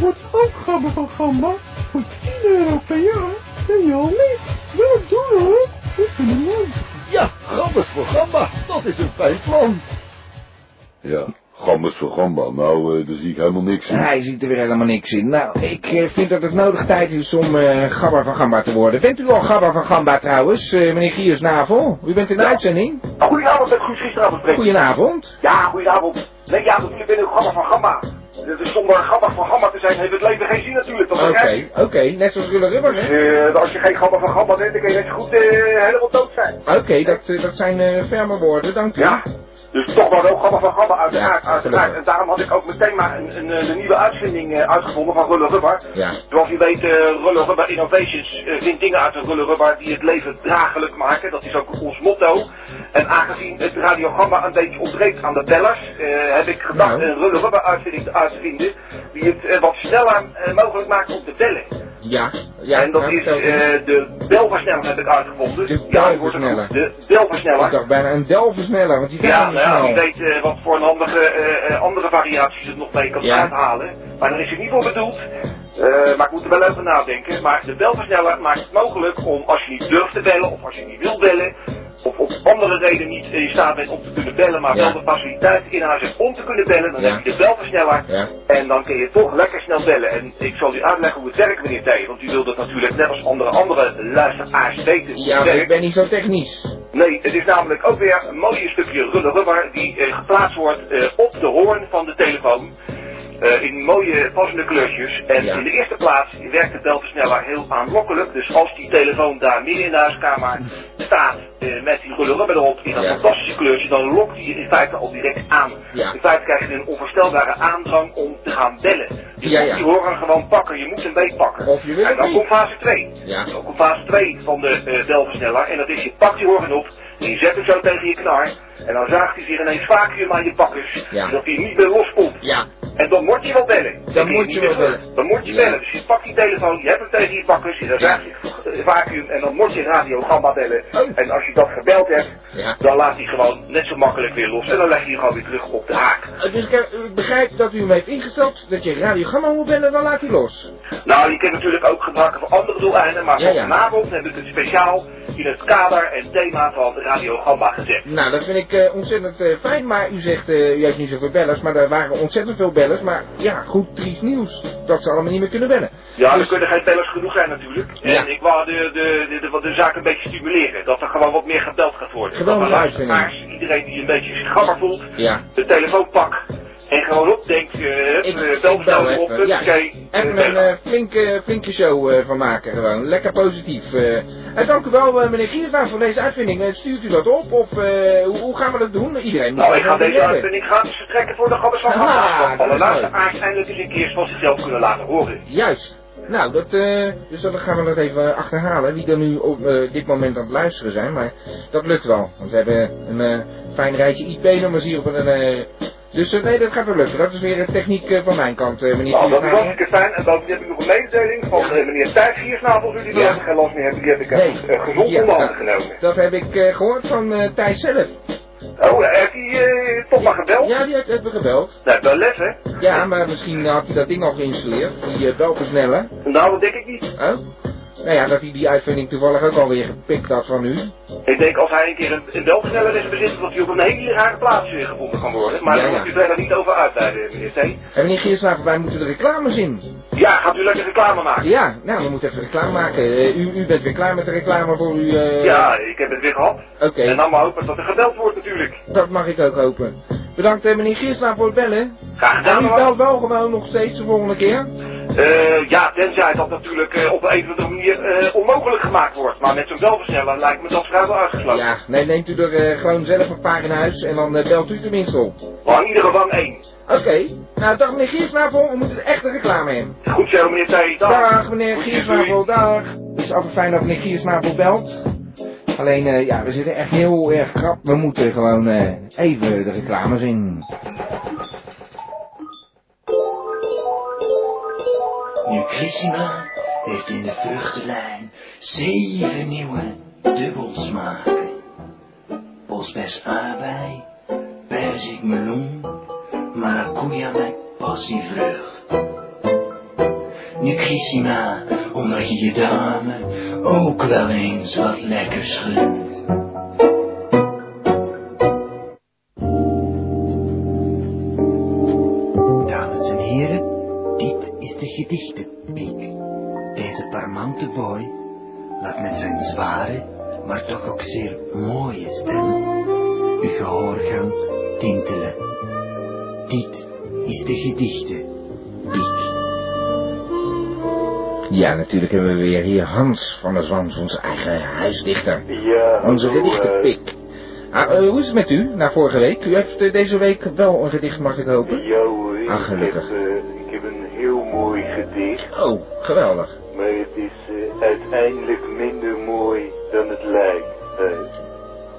Speaker 3: Wordt ook gabber van Gamba. Voor 10 euro per jaar. Ben je al niet? Ja, doe hoor. Ik vind het leuk.
Speaker 6: Ja, gammers voor gamba, dat is een fijn plan.
Speaker 9: Ja, gambas voor gamba. Nou, eh, daar zie ik helemaal niks in.
Speaker 2: Hij ziet er weer helemaal niks in. Nou, ik eh, vind dat het nodig tijd is om eh gabber van Gamba te worden. Bent u al gabber van Gamba trouwens, eh, meneer Giersnavel? U bent in de uitzending.
Speaker 7: Goedenavond, met Guus gisteravond spreken.
Speaker 2: Goedenavond.
Speaker 7: Ja, goedenavond. Nee, ja, natuurlijk ben ik Gamma van Gamma. Dus zonder Gamma van Gamma te zijn heeft het leven geen zin natuurlijk. Dat
Speaker 2: Oké,
Speaker 7: is gek.
Speaker 2: oké. Net zoals Rulle Rubber, hè?
Speaker 7: Eh, als je geen Gamma van Gamma bent, dan kun je net zo goed eh, helemaal dood zijn.
Speaker 2: Oké, dat, eh, dat zijn eh, ferme woorden, dank u.
Speaker 7: Ja. Dus toch maar ook Gamma van Gamma, uiteraard,
Speaker 2: Ja,
Speaker 7: uiteraard.
Speaker 2: gelukkig.
Speaker 7: En daarom had ik ook meteen maar een, een, eh, een nieuwe uitvinding eh, uitgevonden van Rulle Rubber.
Speaker 2: Ja.
Speaker 7: Zoals u weet, eh Rulle Rubber Innovations eh, vindt dingen uit de Rulle Rubber die het leven draaglijk maken. Dat is ook ons motto. En aangezien het radiogramma een beetje ontbreekt aan de bellers, eh, heb ik gedacht
Speaker 2: Nou.
Speaker 7: een Rulle Rubber uitvinding te uitvinden die het eh, wat sneller eh, mogelijk maakt om te bellen.
Speaker 2: Ja. ja
Speaker 7: en dat
Speaker 2: nou,
Speaker 7: is
Speaker 2: vertel eens.
Speaker 7: eh, de belversneller heb ik uitgevonden.
Speaker 2: De
Speaker 7: Ja, die wordt er-
Speaker 2: belversneller.
Speaker 7: De
Speaker 2: Ik
Speaker 7: belversneller.
Speaker 2: dacht bijna een delversneller, want die gaat
Speaker 7: Ja,
Speaker 2: niet
Speaker 7: nou ja,
Speaker 2: snel.
Speaker 7: wie weet eh, wat voor een handige, eh, eh, andere variaties het nog mee kan
Speaker 2: Ja.
Speaker 7: uithalen. Maar daar is het niet voor bedoeld. Eh, maar ik moet er wel over nadenken. Maar de belversneller maakt het mogelijk om als je niet durft te bellen of als je niet wil bellen, of op andere reden niet in staat bent om te kunnen bellen, maar
Speaker 2: Ja.
Speaker 7: wel de faciliteit in huis hebt om te kunnen bellen, dan
Speaker 2: Ja.
Speaker 7: heb je de belversneller
Speaker 2: Ja.
Speaker 7: en dan kun je toch lekker snel bellen. En ik zal u uitleggen hoe het werkt, meneer Tijen, want u wilt dat natuurlijk net als andere, andere luisteraars weten. hoe
Speaker 2: Ja, maar
Speaker 7: het werkt.
Speaker 2: ik ben niet zo technisch.
Speaker 7: Nee, het is namelijk ook weer een mooi stukje rulle rubber die eh, geplaatst wordt eh, op de hoorn van de telefoon. eh, in mooie passende kleurtjes. En
Speaker 2: Ja.
Speaker 7: in de eerste plaats werkt de belversneller heel aanlokkelijk. Dus als die telefoon daar midden in de huiskamer staat eh, met die rulle rubber erop in dat
Speaker 2: Ja.
Speaker 7: fantastische kleurtje, dan lokt die in feite al direct aan.
Speaker 2: Ja.
Speaker 7: In feite krijg je een onvoorstelbare aandrang om te gaan bellen. Je
Speaker 2: Ja,
Speaker 7: moet
Speaker 2: ja.
Speaker 7: die horen gewoon pakken, je moet hem meepakken.
Speaker 2: Of je wil
Speaker 7: en
Speaker 2: het
Speaker 7: dan
Speaker 2: niet.
Speaker 7: komt fase 2.
Speaker 2: Ja.
Speaker 7: Ook op fase 2 van de eh belversneller. En dat is, je pakt je horgen op, en je zet hem zo tegen je knar. En dan zaagt hij zich ineens vacuüm aan je bakkers.
Speaker 2: Ja.
Speaker 7: Zodat hij niet meer loskomt.
Speaker 2: Ja,
Speaker 7: En dan moet je wel bellen.
Speaker 2: Dan
Speaker 7: kun
Speaker 2: moet
Speaker 7: niet
Speaker 2: je
Speaker 7: meer
Speaker 2: wel
Speaker 7: terug.
Speaker 2: bellen.
Speaker 7: Dan moet je
Speaker 2: Ja.
Speaker 7: bellen. Dus je pakt die telefoon, je hebt hem tegen je bakkers. En dan
Speaker 2: Ja.
Speaker 7: zaagt hij eh, vacuüm. En dan moet je radio gamma bellen.
Speaker 2: Oh.
Speaker 7: En als je dat gebeld hebt,
Speaker 2: Ja.
Speaker 7: dan laat hij gewoon net zo makkelijk weer los. En dan leg je hem gewoon weer terug op de haak.
Speaker 2: Eh, dus ik, eh, ik begrijp dat u hem heeft ingesteld, dat je radiogramma moet bellen, dan laat u los.
Speaker 7: Nou, je kunt natuurlijk ook gebruiken voor andere doeleinden, maar
Speaker 2: Ja, ja.
Speaker 7: vanavond heb ik het speciaal in het kader en thema van Radio Gamba gezet.
Speaker 2: Nou, dat vind ik eh, ontzettend eh, fijn, maar u zegt, eh, u heeft niet zoveel bellers, maar er waren ontzettend veel bellers. Maar ja, goed, triest nieuws, dat ze allemaal niet meer kunnen bellen.
Speaker 7: Ja, er
Speaker 2: Dus-
Speaker 7: kunnen geen bellers genoeg zijn natuurlijk.
Speaker 2: Ja.
Speaker 7: En ik wou de, de, de, de, de zaak een beetje stimuleren, dat er gewoon wat meer gebeld gaat worden.
Speaker 2: Gewoon
Speaker 7: dat de
Speaker 2: luisteren.
Speaker 7: luisteraars, iedereen die een beetje zich gammer voelt,
Speaker 2: Ja.
Speaker 7: de telefoon pak en gewoon opdenkt, eh
Speaker 2: Ik-
Speaker 7: uh,
Speaker 2: ik
Speaker 7: bel
Speaker 2: bel
Speaker 7: snel op,
Speaker 2: even, ja.
Speaker 7: oké.
Speaker 2: Even een eh, flinke, flinke show eh, van maken gewoon. Lekker positief. eh. En dank u wel eh, meneer Giergaard voor deze uitvinding. Eh, stuurt u dat op of eh, hoe, hoe gaan we dat doen? Iedereen moet
Speaker 7: Nou, ik ga
Speaker 2: dat
Speaker 7: deze
Speaker 2: hebben.
Speaker 7: uitzending gratis vertrekken voor de gabbers van
Speaker 2: Ah,
Speaker 7: Gamba.
Speaker 2: dat is mooi.
Speaker 7: Alle luisteraars eindelijk eens een keer zoals ze zelf kunnen laten horen.
Speaker 2: Juist. Nou, dat, eh, dus dan gaan we dat even achterhalen. Wie er nu op eh, dit moment aan het luisteren zijn. Maar dat lukt wel. Want we hebben een eh, fijn rijtje IP-nummers hier op een... eh, dus eh, nee, dat gaat wel lukken. Dat is weer een techniek eh, van mijn kant, eh, meneer
Speaker 7: Nou, dat is
Speaker 2: Giergaard.
Speaker 7: hartstikke fijn. En bovendien heb ik nog een mededeling van
Speaker 2: Ja.
Speaker 7: eh, meneer Thijs Giersnavel, die
Speaker 2: Ja.
Speaker 7: ja. geen last meer hebben. Die heb ik eh, eh, gezond
Speaker 2: Ja, nou,
Speaker 7: onder handen
Speaker 2: dat-
Speaker 7: genomen.
Speaker 2: Dat heb ik eh, gehoord van eh, Thijs zelf.
Speaker 7: Oh, eh, heeft hij eh, toch maar gebeld?
Speaker 2: Ja, die heeft, heeft me gebeld.
Speaker 7: Nou, wel let, hè.
Speaker 2: Ja, maar misschien had hij dat ding al geïnstalleerd. Die uh, belversneller.
Speaker 7: Nou, dat denk ik niet.
Speaker 2: Oh. Nou ja, dat hij die uitvinding toevallig ook alweer gepikt had van u.
Speaker 7: Ik denk als hij een keer een, een belversneller is bezit, dat hij op een hele rare plaats eh, gevonden kan worden. Maar
Speaker 2: Ja,
Speaker 7: daar
Speaker 2: ja.
Speaker 7: moet u verder niet over uitleiden, meneer T.
Speaker 2: En meneer Geerslaven, wij moeten de reclames in.
Speaker 7: Ja, gaat u lekker reclame maken?
Speaker 2: Ja, nou, we moeten even reclame maken. Eh, u, u bent weer klaar met de reclame voor u. eh,
Speaker 7: Ja, ik heb het weer gehad.
Speaker 2: Oké,
Speaker 7: En dan maar hopen dat er gebeld wordt natuurlijk.
Speaker 2: dat mag ik ook hopen. Bedankt eh, meneer Geerslaven voor het bellen.
Speaker 7: Graag
Speaker 2: En
Speaker 7: gedaan,
Speaker 2: u
Speaker 7: hoor.
Speaker 2: belt wel gewoon nog steeds de volgende keer.
Speaker 7: Eh, ja, tenzij dat natuurlijk eh, op een of andere manier eh, onmogelijk gemaakt wordt. Maar met zo'n belversneller lijkt me dat vrij wel uitgesloten.
Speaker 2: Ja, nee, neemt u er eh, gewoon zelf een paar in huis en dan eh, belt u tenminste op.
Speaker 7: Maar in ieder geval één.
Speaker 2: Oké, nou dag meneer Giersnavel, we moeten echt de reclame in.
Speaker 7: Goed zo, meneer T. Dag.
Speaker 2: Dag meneer
Speaker 7: Goed,
Speaker 2: Giersnavel, dag. Het is altijd fijn dat meneer Giersnavel belt. Alleen, eh, ja, we zitten echt heel erg krap. We moeten gewoon eh, even de reclames in.
Speaker 1: Nutrissima heeft in de vruchtenlijn zeven nieuwe dubbelsmaken. Bosbes aardbei, perzik meloen, maracuja met passievrucht. Nutrissima, omdat je je dame ook wel eens wat lekkers gunt. Dames en heren, dit is de gedichtenpiek. Deze parmante boy laat met zijn zware, maar toch ook zeer mooie stem uw gehoor gaan tintelen. Dit is de gedichtenpiek.
Speaker 2: Ja, natuurlijk hebben we weer hier Hans van der Zwans, onze eigen huisdichter.
Speaker 9: Ja,
Speaker 2: Onze
Speaker 9: hallo, eh,
Speaker 2: gedichtenpik. Ah, eh, hoe is het met u na vorige week? U heeft eh, deze week wel een gedicht, mag ik hopen?
Speaker 9: Ja hoor, ik,
Speaker 2: Ah, gelukkig.
Speaker 9: Heb, eh, ik heb een heel mooi gedicht,
Speaker 2: Oh, geweldig.
Speaker 9: maar het is eh, uiteindelijk minder mooi dan het lijkt. eh.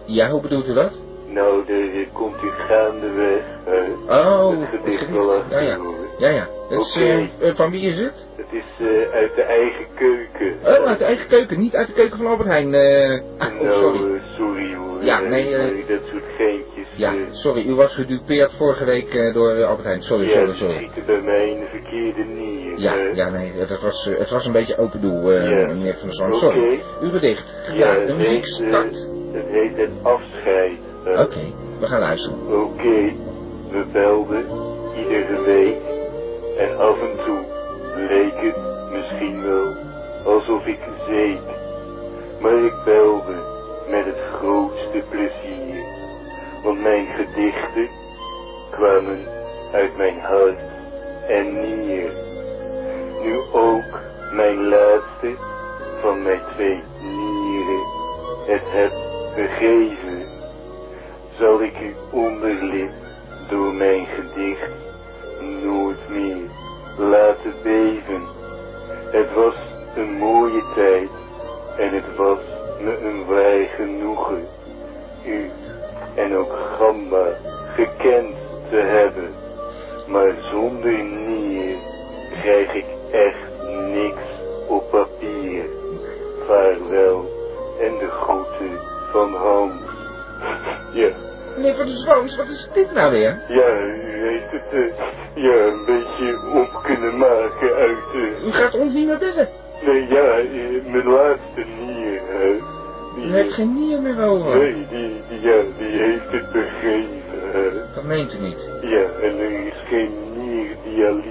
Speaker 2: Ja, hoe bedoelt u dat?
Speaker 9: nou, er, er komt u gaandeweg eh,
Speaker 2: Oh,
Speaker 9: het
Speaker 2: het
Speaker 9: gedicht wel
Speaker 2: gedicht. Ja,
Speaker 9: achter
Speaker 2: ja.
Speaker 9: hoor.
Speaker 2: Ja, ja. Dat is, eh, eh, van wie is het?
Speaker 9: Het is eh, uit de eigen keuken.
Speaker 2: Oh, uit de eigen keuken, niet uit de keuken van Albert Heijn. eh. ah, oh,
Speaker 9: nou,
Speaker 2: sorry.
Speaker 9: eh, sorry hoor.
Speaker 2: Ja,
Speaker 9: eh,
Speaker 2: nee, eh,
Speaker 9: eh, dat soort geintjes.
Speaker 2: Ja,
Speaker 9: eh,
Speaker 2: sorry, u was gedupeerd vorige week eh, door eh, Albert Heijn. Sorry,
Speaker 9: ja,
Speaker 2: sorry,
Speaker 9: ze
Speaker 2: sorry.
Speaker 9: schieten bij mij in de verkeerde nier.
Speaker 2: Ja,
Speaker 9: eh.
Speaker 2: ja, nee, eh, dat was, eh, het was een beetje open doel, eh,
Speaker 9: Ja.
Speaker 2: meneer Van der Zand.
Speaker 9: Oké.
Speaker 2: Sorry. Uw gedicht.
Speaker 9: Ja,
Speaker 2: Ja, de muziek
Speaker 9: deze-
Speaker 2: start.
Speaker 9: Het heet het afscheid.
Speaker 2: Oké, we gaan luisteren.
Speaker 9: Oké, we belden iedere week en af en toe leek het misschien wel alsof ik zeep. Maar ik belde met het grootste plezier, want mijn gedichten kwamen uit mijn hart en nier. Nu ook mijn laatste van mijn twee nieren het heb gegeven, zal ik u onderlip door mijn gedicht nooit meer laten beven. Het was een mooie tijd en het was me een waar genoegen u en ook Gamba gekend te hebben. Maar zonder nier krijg ik echt niks op papier. Vaarwel en de groeten van Hans. Ja.
Speaker 2: Nee, wat is Roos, wat is dit nou weer?
Speaker 9: Ja, u heeft het eh, ja, een beetje op kunnen maken uit... eh,
Speaker 2: U gaat ons niet meer bellen.
Speaker 9: nee, ja, eh, mijn laatste nier. eh, die,
Speaker 2: U heeft geen nier meer over.
Speaker 9: Nee, die, die, ja, die heeft het begrepen. eh.
Speaker 2: Dat meent u niet.
Speaker 9: ja, en er is geen nierdialyse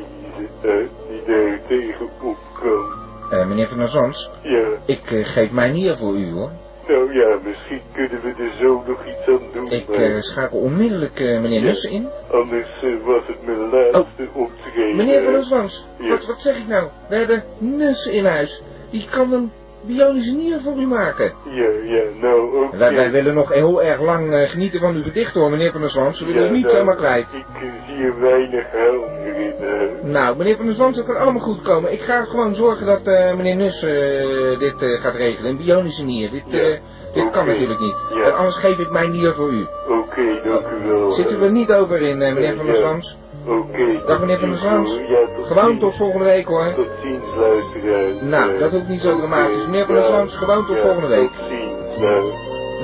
Speaker 9: eh, die daar tegen opkomt.
Speaker 2: Eh, meneer van der Zons,
Speaker 9: Ja,
Speaker 2: ik eh, geef mijn nier voor u hoor.
Speaker 9: nou ja, misschien kunnen we er zo nog iets aan doen.
Speaker 2: Ik
Speaker 9: maar
Speaker 2: eh, schakel onmiddellijk eh, meneer
Speaker 9: Ja.
Speaker 2: Nussen in. Oh.
Speaker 9: Anders eh, was het mijn laatste optreden.
Speaker 2: Meneer van der Zwans,
Speaker 9: Ja.
Speaker 2: wat, wat zeg ik nou? We hebben Nussen in huis. Die kan een bionische nier voor u maken.
Speaker 9: Ja, ja, nou, oké.
Speaker 2: Wij, wij willen nog heel erg lang eh, genieten van uw gedicht hoor, meneer van der Zwans. We willen u niet
Speaker 9: nou,
Speaker 2: zomaar kwijt.
Speaker 9: Ik eh, zie er weinig helm in. eh.
Speaker 2: Nou, meneer van der Zwans, dat kan allemaal goed komen. Ik ga gewoon zorgen dat eh, meneer Nus eh, dit eh, gaat regelen. Een bionische nier. Dit, eh, dit kan
Speaker 9: oké.
Speaker 2: natuurlijk niet.
Speaker 9: Ja.
Speaker 2: En anders geef ik mijn nier voor u.
Speaker 9: Oké, dank u wel.
Speaker 2: Zitten
Speaker 9: eh.
Speaker 2: we er niet over in, eh, meneer van der
Speaker 9: Ja.
Speaker 2: Zwans.
Speaker 9: Oké.
Speaker 2: Dag meneer van der Zwans.
Speaker 9: Ja, tot
Speaker 2: Gewoon
Speaker 9: ziens.
Speaker 2: tot volgende week hoor.
Speaker 9: Tot ziens, luisteraars.
Speaker 2: Nou, dat hoeft niet zo dramatisch. Meneer van der Zwans, gewoon tot
Speaker 9: Ja,
Speaker 2: volgende week.
Speaker 9: Tot ziens, nou.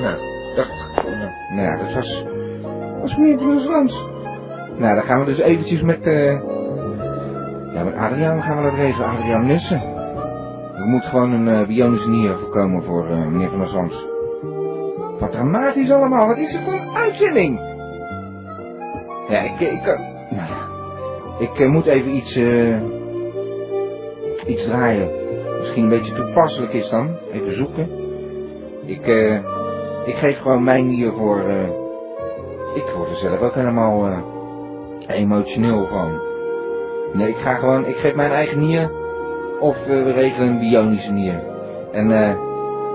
Speaker 2: Nou, dag. Nou ja, dat was...
Speaker 10: Dat is meer van de Frans.
Speaker 2: Nou, dan gaan we dus eventjes met... eh, Ja, met Adriaan gaan we dat regelen. Adriaan Nussen. Er moet gewoon een eh, bionische nier voorkomen voor eh, meneer van der Zwans. Wat dramatisch allemaal. Wat is er voor een uitzending? Ja, ik... ik kan- nou ja. Ik eh, moet even iets... eh, iets draaien. Misschien een beetje toepasselijk is dan. Even zoeken. Ik... eh, ik geef gewoon mijn nier voor... eh, ik word er zelf ook helemaal... eh, emotioneel van. Nee, ik ga gewoon, ik geef mijn eigen nier. Of eh, we regelen een bionische nier. En eh,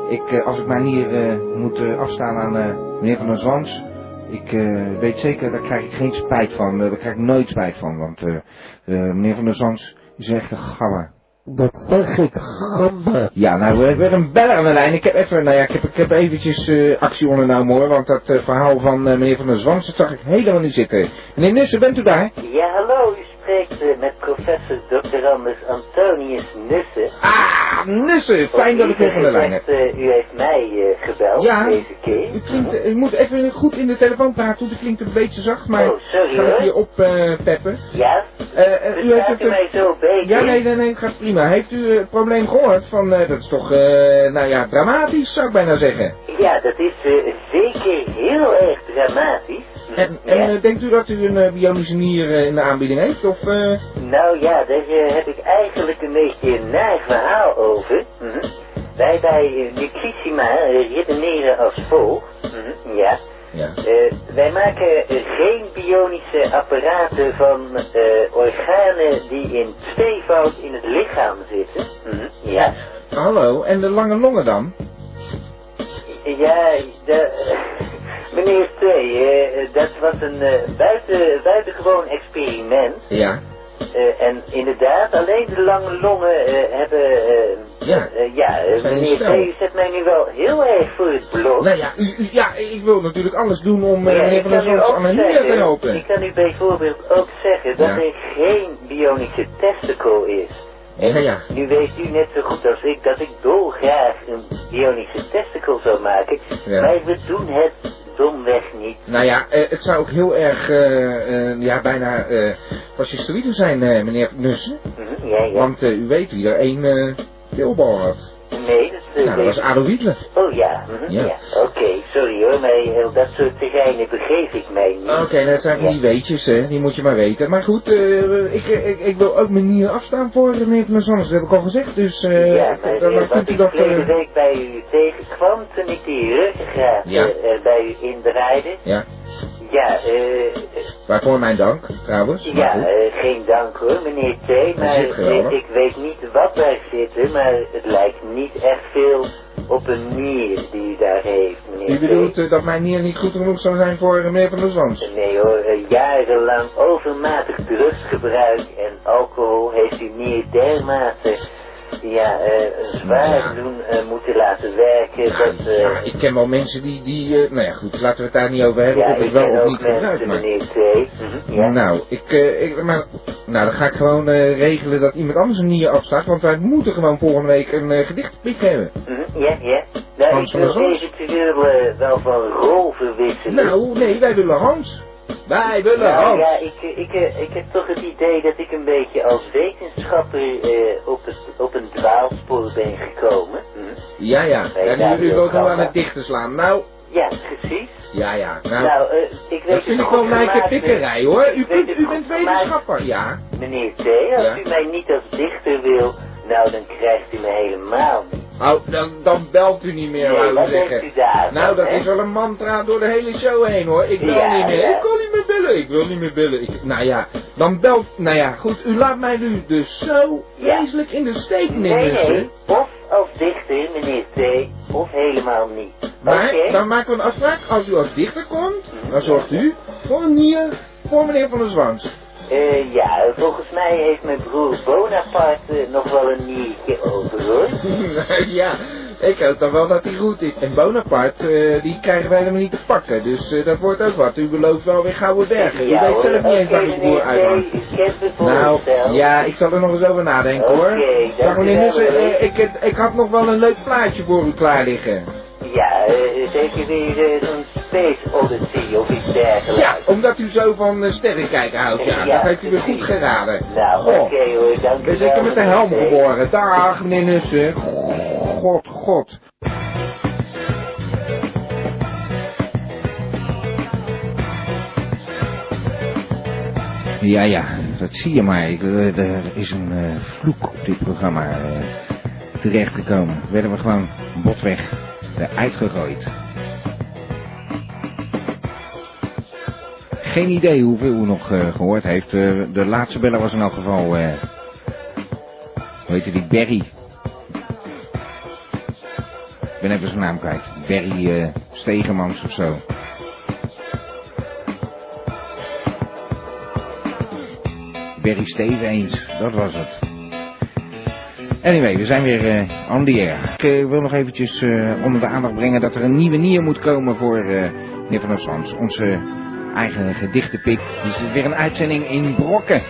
Speaker 2: ik, eh, als ik mijn nier eh, moet eh, afstaan aan eh, meneer Van der Zwans. Ik eh, weet zeker, daar krijg ik geen spijt van. Eh, daar krijg ik nooit spijt van. Want eh, eh, meneer Van der Zwans is echt een gabber.
Speaker 11: Dat zeg ik, gamba.
Speaker 2: Ja, nou, we hebben weer een beller aan de lijn. Ik heb even, nou ja, ik heb, ik heb eventjes eh, actie ondernomen hoor. Want dat eh, verhaal van eh, meneer Van der Zwans, dat zag ik helemaal niet zitten. Meneer Nussen, bent u daar?
Speaker 12: Ja, hallo, u spreekt eh, met professor Dr. Anders Antonius Nussen.
Speaker 2: Ah, Nussen, fijn dat ik u van de lijn heb.
Speaker 12: u heeft mij eh, gebeld
Speaker 2: Ja.
Speaker 12: deze keer.
Speaker 2: U, klinkt, u moet even goed in de telefoon praten, want u klinkt een beetje zacht, maar
Speaker 12: Oh, sorry,
Speaker 2: ga ik
Speaker 12: hoor.
Speaker 2: hier op eh, peppen.
Speaker 12: Ja?
Speaker 2: Eh, eh, u heeft
Speaker 12: Praat u mij
Speaker 2: het,
Speaker 12: zo beter?
Speaker 2: ja, nee, nee, nee, gaat prima. Heeft u eh, het probleem gehoord van, eh, dat is toch, eh, nou ja, dramatisch zou ik bijna zeggen.
Speaker 12: Ja, dat is eh, zeker heel erg dramatisch.
Speaker 2: En, en eh, denkt u dat u een eh, bionische nier eh, in de aanbieding heeft, of, eh,
Speaker 12: Nou ja, daar eh, heb ik eigenlijk een beetje een naar verhaal over. Mhm. Wij bij eh, Nutrissima eh, redeneren als volgt. Mhm, Ja.
Speaker 2: ja.
Speaker 12: Eh, wij maken eh, geen bionische apparaten van eh, organen die in tweevoud in het lichaam zitten. Mhm, Ja,
Speaker 2: Hallo, en de lange longen dan?
Speaker 12: ja de, meneer T, eh, dat was een eh, buiten, buitengewoon experiment.
Speaker 2: Ja.
Speaker 12: Eh, en inderdaad, alleen de lange longen eh, hebben... eh,
Speaker 2: Ja.
Speaker 12: eh, ja, eh,
Speaker 2: Zijn
Speaker 12: meneer
Speaker 2: stel.
Speaker 12: T, u zet mij nu wel heel erg voor het blok.
Speaker 2: Nou ja, u, u- ja, ik wil natuurlijk alles doen om eh,
Speaker 12: Ja,
Speaker 2: meneer
Speaker 12: ik
Speaker 2: Van der
Speaker 12: kan u
Speaker 2: Zons
Speaker 12: ook
Speaker 2: aan mijn nier te
Speaker 12: zeggen-
Speaker 2: helpen.
Speaker 12: Ik kan u bijvoorbeeld ook zeggen dat
Speaker 2: Ja.
Speaker 12: er geen bionische testicle is.
Speaker 2: Ja, ja.
Speaker 12: Nu weet u net zo goed als ik dat ik dolgraag een bionische testicle zou maken,
Speaker 2: Ja.
Speaker 12: maar we doen het domweg niet.
Speaker 2: Nou ja, eh, het zou ook heel erg, eh, eh, ja, bijna eh fascistoïde zijn, eh, meneer Nussen.
Speaker 12: Mhm, ja, ja.
Speaker 2: Want eh, u weet wie er één eh deelbal had.
Speaker 12: Nee, dat eh,
Speaker 2: Nou, dat was Adolf Hitler.
Speaker 12: Oh ja, mhm,
Speaker 2: Ja.
Speaker 12: ja. Oké, sorry hoor, maar heel dat soort geinen begreep ik mij niet.
Speaker 2: Oké, dat zijn
Speaker 12: Ja.
Speaker 2: die weetjes, hè. Die moet je maar weten. Maar goed, eh, ik, ik, ik wil ook mijn nieren afstaan voor eh, meneer Van Sanders. Dat heb ik al gezegd, dus... eh,
Speaker 12: ja, maar
Speaker 2: dan,
Speaker 12: eh,
Speaker 2: dan
Speaker 12: wat
Speaker 2: kunt u
Speaker 12: ik
Speaker 2: dat...
Speaker 12: vorige
Speaker 2: eh,
Speaker 12: week bij u tegenkwam toen ik die ruggengraat
Speaker 2: Ja.
Speaker 12: eh, eh, bij u indraaide.
Speaker 2: ja,
Speaker 12: Ja, eh,
Speaker 2: waarvoor mijn dank, trouwens. Maar
Speaker 12: Ja,
Speaker 2: goed.
Speaker 12: eh, geen dank hoor, meneer T. Maar
Speaker 2: zit geen
Speaker 12: eh,
Speaker 2: hoor.
Speaker 12: ik weet niet wat daar zit, maar het lijkt niet echt veel op een nier die u daar heeft, meneer
Speaker 2: U
Speaker 12: T.
Speaker 2: bedoelt eh, dat mijn nieren niet goed genoeg zou zijn voor eh, meneer Van der Zwans?
Speaker 12: Nee hoor, eh, jarenlang overmatig drugsgebruik en alcohol heeft u nier dermate ja, eh, zwaar doen eh, moeten laten werken. Dat, eh,
Speaker 2: Ja, ik ken wel mensen die... die eh, nou ja, goed, laten we het daar niet over hebben.
Speaker 12: ja,
Speaker 2: of
Speaker 12: ik
Speaker 2: het wel
Speaker 12: ken
Speaker 2: of
Speaker 12: ook
Speaker 2: niet gebruikt,
Speaker 12: mensen,
Speaker 2: maar...
Speaker 12: meneer T. Mhm, ja.
Speaker 2: Nou, ik, eh, ik, maar, nou, dan ga ik gewoon eh, regelen dat iemand anders een nier afstaat, want wij moeten gewoon volgende week een eh, gedichtpik hebben.
Speaker 12: Mhm, Ja, ja. Nou,
Speaker 2: Hans
Speaker 12: ik
Speaker 2: van der
Speaker 12: wil
Speaker 2: Zons?
Speaker 12: eventueel eh, wel van rol verwisselen.
Speaker 2: Nou, nee, wij willen Hans. Wij willen
Speaker 12: Nou
Speaker 2: Hans.
Speaker 12: ja, ik, eh, ik, eh, ik heb toch het idee dat ik een beetje als wetenschapper eh, op, het, op een dwaalspoor ben gekomen. Hm?
Speaker 2: Ja, ja.
Speaker 12: Nee,
Speaker 2: En
Speaker 12: ja,
Speaker 2: nu u
Speaker 12: heel
Speaker 2: ook al
Speaker 12: grappig.
Speaker 2: aan het dichten slaan. Nou,
Speaker 12: Ja, precies.
Speaker 2: ja, ja.
Speaker 12: Nou,
Speaker 2: Nou,
Speaker 12: eh, ik weet
Speaker 2: dat vind ik wel lijken pikkerij, hoor. U, kunt, u bent
Speaker 12: wetenschapper.
Speaker 2: wetenschapper. Ja.
Speaker 12: Meneer T, als
Speaker 2: Ja.
Speaker 12: u mij niet als dichter wil, nou dan krijgt u me helemaal niet.
Speaker 2: Nou, dan, dan belt u niet meer,
Speaker 12: Nee,
Speaker 2: wou
Speaker 12: wat
Speaker 2: ik zeggen.
Speaker 12: denkt u daarvan,
Speaker 2: nou, dat
Speaker 12: hè?
Speaker 2: is wel een mantra door de hele show heen, hoor. Ik wil
Speaker 12: Ja,
Speaker 2: niet meer.
Speaker 12: ja.
Speaker 2: Ik kan niet meer bellen. Ik wil niet meer bellen. Ik, nou ja, dan belt... Nou ja, goed. U laat mij nu dus zo
Speaker 12: Ja.
Speaker 2: wezenlijk in de steek, meneer
Speaker 12: Nee,
Speaker 2: Muster.
Speaker 12: nee, of als dichter, meneer T, of helemaal niet.
Speaker 2: Maar
Speaker 12: Oké.
Speaker 2: dan maken we een afspraak. Als u als dichter komt, dan Nou, zorgt u voor een nier voor meneer Van der Zwans.
Speaker 12: Eh, ja, volgens mij heeft mijn broer Bonaparte nog wel een niertje over, hoor.
Speaker 2: ja, ik hoop dan wel dat hij goed is. En Bonaparte, eh, die krijgen wij helemaal niet te pakken. Dus eh, dat wordt ook wat. U belooft wel weer gouden bergen. U weet zelf niet eens waar uw broer uithangt. Nou, ja, ik zal er nog eens over nadenken hoor.
Speaker 12: Oké,
Speaker 2: Dag meneer
Speaker 12: dankjewel,
Speaker 2: Nussen,
Speaker 12: hoor.
Speaker 2: eh, ik, heb- ik had nog wel een leuk plaatje voor u klaar liggen.
Speaker 12: Ja, eh, zeker weer eh, zo'n Space Odyssey of iets dergelijks.
Speaker 2: Ja, omdat u zo van eh, sterrenkijken houdt. Ja,
Speaker 12: Ja,
Speaker 2: dat heeft u weer goed
Speaker 12: precies.
Speaker 2: geraden.
Speaker 12: Nou,
Speaker 2: Oh.
Speaker 12: oké hoor, dank u
Speaker 2: We
Speaker 12: wel.
Speaker 2: zitten met de
Speaker 12: meneer
Speaker 2: helm
Speaker 12: T.
Speaker 2: geboren. Dag, meneer Nussen. God, god. Ja, ja, dat zie je maar. Ik, eh, er is een eh, vloek op dit programma eh, terechtgekomen. Werden we gewoon botweg eruit gegooid. Geen idee hoeveel u nog eh, gehoord heeft. Eh, de laatste beller was in elk geval... eh hoe heette die? Berry. Ik ben even zijn naam kwijt. Berry eh, Stegemans of zo. Berry Stevens, dat was het. Anyway, we zijn weer eh on the air. Ik eh, wil nog eventjes eh, onder de aandacht brengen dat er een nieuwe nier moet komen voor eh meneer Van der Sans. Onze eigen gedichtenpik. Dus het is weer een uitzending in brokken.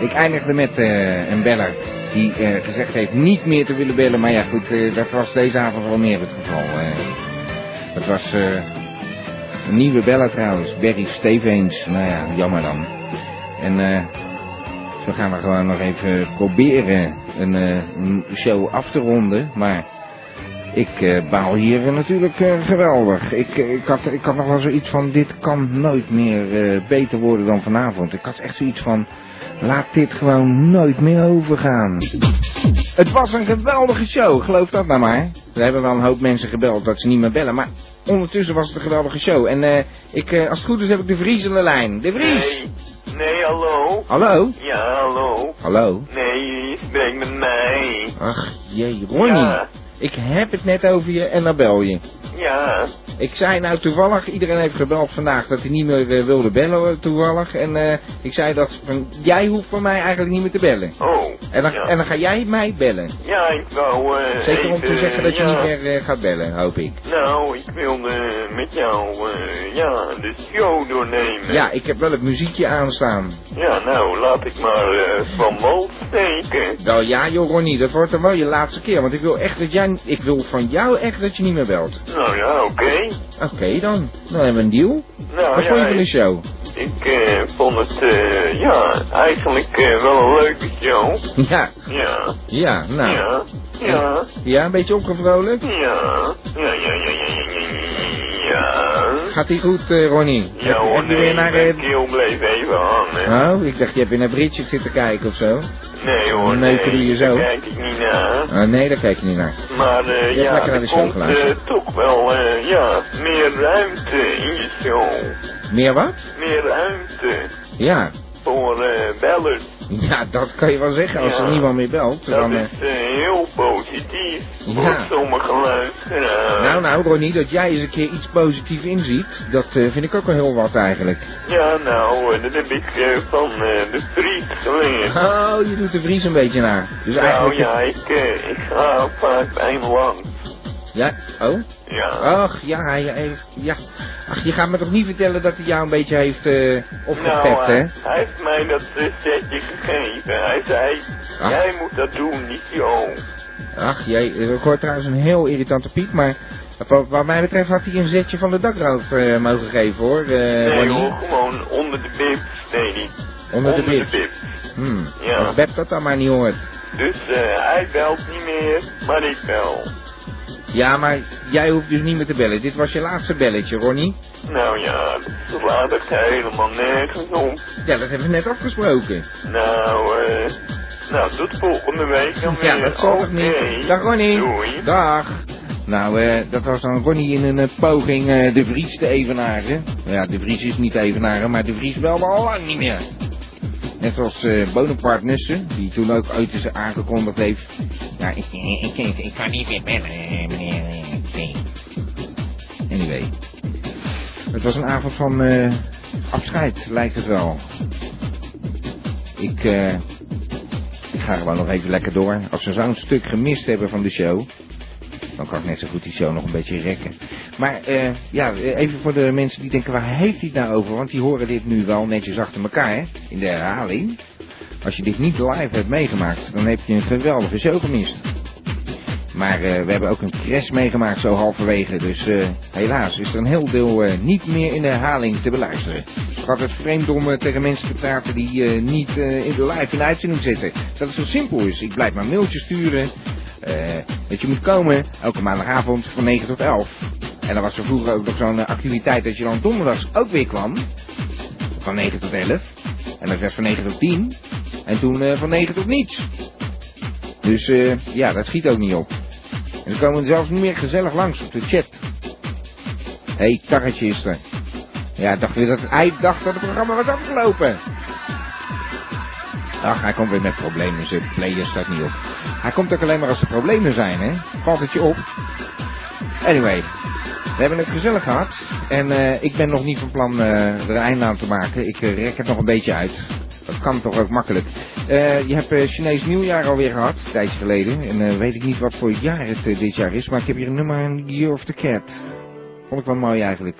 Speaker 2: Ik eindigde met eh, een beller die eh, gezegd heeft niet meer te willen bellen. Maar ja, goed, eh, dat was deze avond wel meer het geval. eh. het was eh, een nieuwe beller trouwens, Berry Stevens. Nou ja, jammer dan. En eh, zo gaan we gewoon nog even proberen een, eh, een show af te ronden. Maar ik eh, baal hier eh, natuurlijk eh, geweldig. Ik, eh, ik, had, ik had nog wel zoiets van, dit kan nooit meer eh, beter worden dan vanavond. Ik had echt zoiets van, laat dit gewoon nooit meer overgaan. Het was een geweldige show, geloof dat nou maar. Er hebben wel een hoop mensen gebeld dat ze niet meer bellen, maar ondertussen was het een geweldige show. En eh, ik, eh, als het goed is heb ik de Vries aan de lijn. De Vries!
Speaker 13: Nee, nee, hallo.
Speaker 2: Hallo?
Speaker 13: Ja, hallo.
Speaker 2: Hallo?
Speaker 13: Nee, je spreekt met mij.
Speaker 2: Ach, jee, Ronnie.
Speaker 13: Ja.
Speaker 2: Ik heb het net over je en dan bel je.
Speaker 13: Ja,
Speaker 2: Ik zei nou toevallig, iedereen heeft gebeld vandaag dat hij niet meer eh, wilde bellen hoor, toevallig. En eh, ik zei dat, van, jij hoeft van mij eigenlijk niet meer te bellen.
Speaker 13: oh.
Speaker 2: En dan,
Speaker 13: ja.
Speaker 2: en dan ga jij mij bellen.
Speaker 13: Ja, ik wou eh
Speaker 2: Zeker om te
Speaker 13: even,
Speaker 2: zeggen dat je
Speaker 13: ja.
Speaker 2: niet meer eh, gaat bellen, hoop ik.
Speaker 13: Nou, ik wilde met jou, eh ja, de show doornemen.
Speaker 2: Ja, ik heb wel het muziekje aanstaan.
Speaker 13: Ja, nou, laat ik maar eh, van wal steken.
Speaker 2: Wel ja joh Ronnie, dat wordt dan wel je laatste keer. Want ik wil echt dat jij, ik wil van jou echt dat je niet meer belt.
Speaker 13: Nou ja, oké.
Speaker 2: Oké dan, dan hebben we een deal.
Speaker 13: Nou
Speaker 2: Wat
Speaker 13: ja,
Speaker 2: vond je van de
Speaker 13: ik-
Speaker 2: show?
Speaker 13: Ik eh, vond het, eh, ja, eigenlijk eh, wel een leuke show.
Speaker 2: Ja,
Speaker 13: Ja.
Speaker 2: ja, nou. Eh,
Speaker 13: Ja. Ja.
Speaker 2: Ja, een beetje opgevrolijk?
Speaker 13: Ja. Ja, ja, ja, ja, ja, ja, ja.
Speaker 2: Gaat die goed, eh, Ronnie?
Speaker 13: Ja
Speaker 2: Heb-
Speaker 13: hoor,
Speaker 2: heb je
Speaker 13: nee,
Speaker 2: weer naar...
Speaker 13: mijn
Speaker 2: eh,
Speaker 13: keel bleef even hangen.
Speaker 2: Oh, ik dacht, je hebt weer naar Britje zitten kijken of zo.
Speaker 13: Nee hoor,
Speaker 2: Dan neuken doe je
Speaker 13: nee,
Speaker 2: zo.
Speaker 13: daar kijk ik niet naar.
Speaker 2: Ah, nee, daar kijk je niet naar.
Speaker 13: Maar eh,
Speaker 2: Je hebt
Speaker 13: ja,
Speaker 2: lekker naar de
Speaker 13: er
Speaker 2: show
Speaker 13: komt
Speaker 2: geluisterd.
Speaker 13: eh, toch wel eh, ja, meer ruimte in je show.
Speaker 2: Meer wat?
Speaker 13: Meer ruimte
Speaker 2: Ja.
Speaker 13: voor eh, bellen.
Speaker 2: Ja, dat kan je wel zeggen. Als er
Speaker 13: Ja.
Speaker 2: niemand meer belt,
Speaker 13: Dat
Speaker 2: dan... eh,
Speaker 13: is eh, heel positief
Speaker 2: Ja.
Speaker 13: voor sommige luisteraars.
Speaker 2: Nou, nou, Ronnie, dat jij eens een keer iets positiefs inziet, dat eh, vind ik ook wel heel wat eigenlijk.
Speaker 13: Ja, nou, eh, dat heb ik eh, van eh, de vriend geleerd.
Speaker 2: Oh, je doet de Vries een beetje naar. Dus
Speaker 13: nou
Speaker 2: eigenlijk...
Speaker 13: ja, ik, eh, ik ga vaak bij hem lang.
Speaker 2: Ja, oh?
Speaker 13: Ja.
Speaker 2: Ach, ja, hij heeft... Ja. Ach, je gaat me toch niet vertellen dat hij jou een beetje heeft eh opgepept,
Speaker 13: nou,
Speaker 2: hè?
Speaker 13: eh, hij heeft mij dat eh, setje gegeven. Hij zei,
Speaker 2: Ah.
Speaker 13: jij moet dat doen, niet joh. eh.
Speaker 2: Ach, jij... Ik hoor trouwens een heel irritante piep, maar... Wat, wat mij betreft had hij een zetje van de dakroof eh, mogen geven, hoor. eh,
Speaker 13: nee
Speaker 2: Ronnie.
Speaker 13: hoor, gewoon onder de bib. Nee, niet.
Speaker 2: Onder de
Speaker 13: onder
Speaker 2: bib.
Speaker 13: de bib.
Speaker 2: Hmm.
Speaker 13: Ja.
Speaker 2: Als Beb dat dan maar niet hoort.
Speaker 13: Dus eh, hij belt niet meer, maar ik bel.
Speaker 2: Ja, maar jij hoeft dus niet meer te bellen. Dit was je laatste belletje, Ronnie.
Speaker 13: Nou ja, dat slaat echt helemaal nergens om.
Speaker 2: Ja, dat hebben we net afgesproken.
Speaker 13: Nou, eh. Nou, tot volgende week dan weer.
Speaker 2: Ja, dat zal toch
Speaker 13: Oké.
Speaker 2: niet. Dag Ronnie.
Speaker 13: Doei.
Speaker 2: Dag. Nou, eh, dat was dan Ronnie in een eh, poging eh, de Vries te evenaren. Ja, de Vries is niet te evenaren, maar de Vries wel al lang niet meer. Net zoals eh Bonaparte Nussen, die toen ook ooit eens aangekondigd heeft. Ja, ik, ik, ik, ik kan niet meer bellen, eh, meneer. eh, nee. Anyway. Het was een avond van eh, afscheid, lijkt het wel. Ik, eh, ik ga gewoon nog even lekker door. Als ze zo'n stuk gemist hebben van de show, dan kan ik net zo goed die show nog een beetje rekken. Maar eh, ja, eh, even voor de mensen die denken, waar heeft hij het nou over? Want die horen dit nu wel netjes achter elkaar, hè? in de herhaling. Als je dit niet live hebt meegemaakt, dan heb je een geweldige show gemist. Maar eh, we hebben ook een crash meegemaakt zo halverwege. Dus eh, helaas is er een heel deel eh, niet meer in de herhaling te beluisteren. Het gaat het vreemd om eh, tegen mensen te praten die eh, niet eh, in de live in de uitzending zitten. Dat het zo simpel is. Ik blijf maar mailtjes sturen. eh, dat je moet komen elke maandagavond van 9 tot 11. En dan was er vroeger ook nog zo'n eh, activiteit dat je dan donderdags ook weer kwam. Van 9 tot 11. En dat werd van 9 tot 10. En toen eh, van 9 tot niets. Dus eh, ja, dat schiet ook niet op. En ze komen zelfs niet meer gezellig langs op de chat. Hé, hey, tarretje is er. Ja, ik dacht weer dat hij dacht dat het programma was afgelopen. Ach, hij komt weer met problemen. Zijn player staat niet op. Hij komt ook alleen maar als er problemen zijn, hè? Valt het je op? Anyway, we hebben het gezellig gehad. En eh, ik ben nog niet van plan eh er einde aan te maken. Ik eh, rek het nog een beetje uit. Dat kan toch ook makkelijk. Eh, je hebt eh, Chinees nieuwjaar alweer gehad, een tijdje geleden. En eh, weet ik niet wat voor jaar het eh, dit jaar is, maar ik heb hier een nummer aan Year of the Cat. Vond ik wel mooi eigenlijk.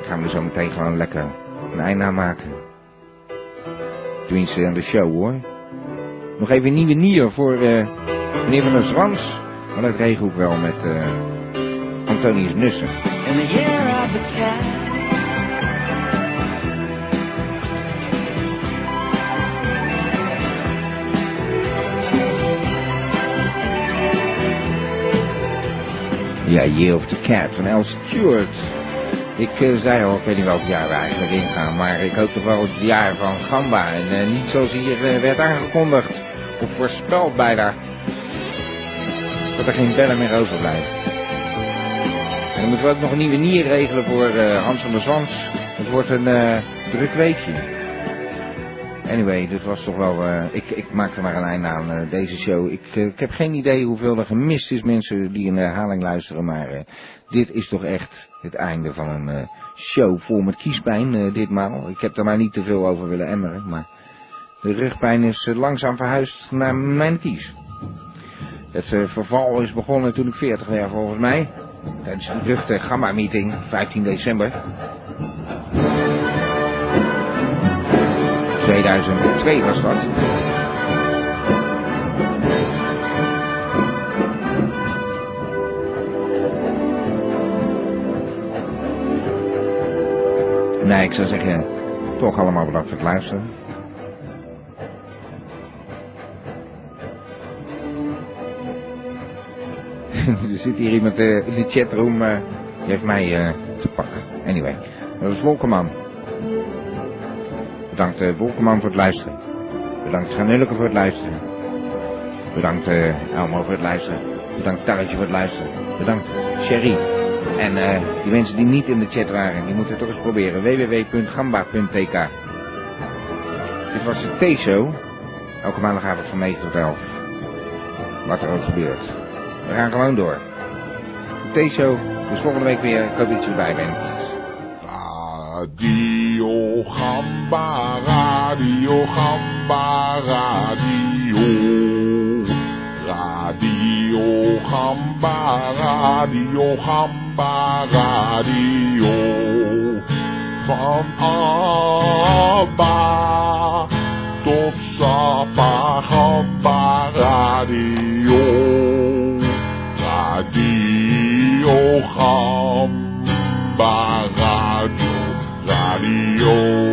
Speaker 2: Ik ga hem er zo meteen gewoon lekker een einde aan maken. Tenminste aan de show hoor. Nog even een nieuwe nier voor eh, meneer van der Zwans. Maar dat regel ik wel met eh Antonius Nussen.
Speaker 12: In the year of the cat.
Speaker 2: Ja, Year of the Cat van Al Stewart. Ik eh, zei al, ik weet niet welk jaar we eigenlijk ingaan, maar ik hoop toch wel het jaar van Gamba. En eh, niet zoals hier eh, werd aangekondigd, of voorspeld bijna, dat er geen bellen meer overblijft. En dan moeten we ook nog een nieuwe nier regelen voor eh, Hans van der Zwans. Het wordt een eh, druk weekje. Anyway, dit was toch wel... eh, ik, ik maak er maar een einde aan eh, deze show. Ik, eh, ik heb geen idee hoeveel er gemist is, mensen die in de herhaling luisteren. Maar eh, dit is toch echt het einde van een eh, show vol met kiespijn eh, ditmaal. Ik heb er maar niet te veel over willen emmeren. Maar de rugpijn is eh, langzaam verhuisd naar mijn kies. Het eh, verval is begonnen toen ik 40 werd volgens mij. Tijdens de beruchte Gamma-meeting, 15 december 2002 was dat. Nee, ik zou zeggen, toch allemaal bedankt voor het luisteren. er zit hier iemand eh, in de chatroom. eh, die heeft mij eh, te pakken. Anyway, dat is Wolkerman. Bedankt eh, Wolkerman voor het luisteren. Bedankt Granulke voor het luisteren. Bedankt eh, Elmo voor het luisteren. Bedankt Tarretje voor het luisteren. Bedankt Sherry. En eh, die mensen die niet in de chat waren, die moeten het toch eens proberen. www.gamba.tk Dit was de T-show. Elke maandagavond van 9 tot 11. Wat er ook gebeurt. We gaan gewoon door. De T-show. Dus volgende week weer. Ik hoop dat je erbij bent.
Speaker 14: Radio Gamba, Radio Gamba, Radio. Radio Gamba, Radio Gamba, Radio. Van Abba tot Sapa Gamba, Radio. Radio Gamba, Radio. Radio.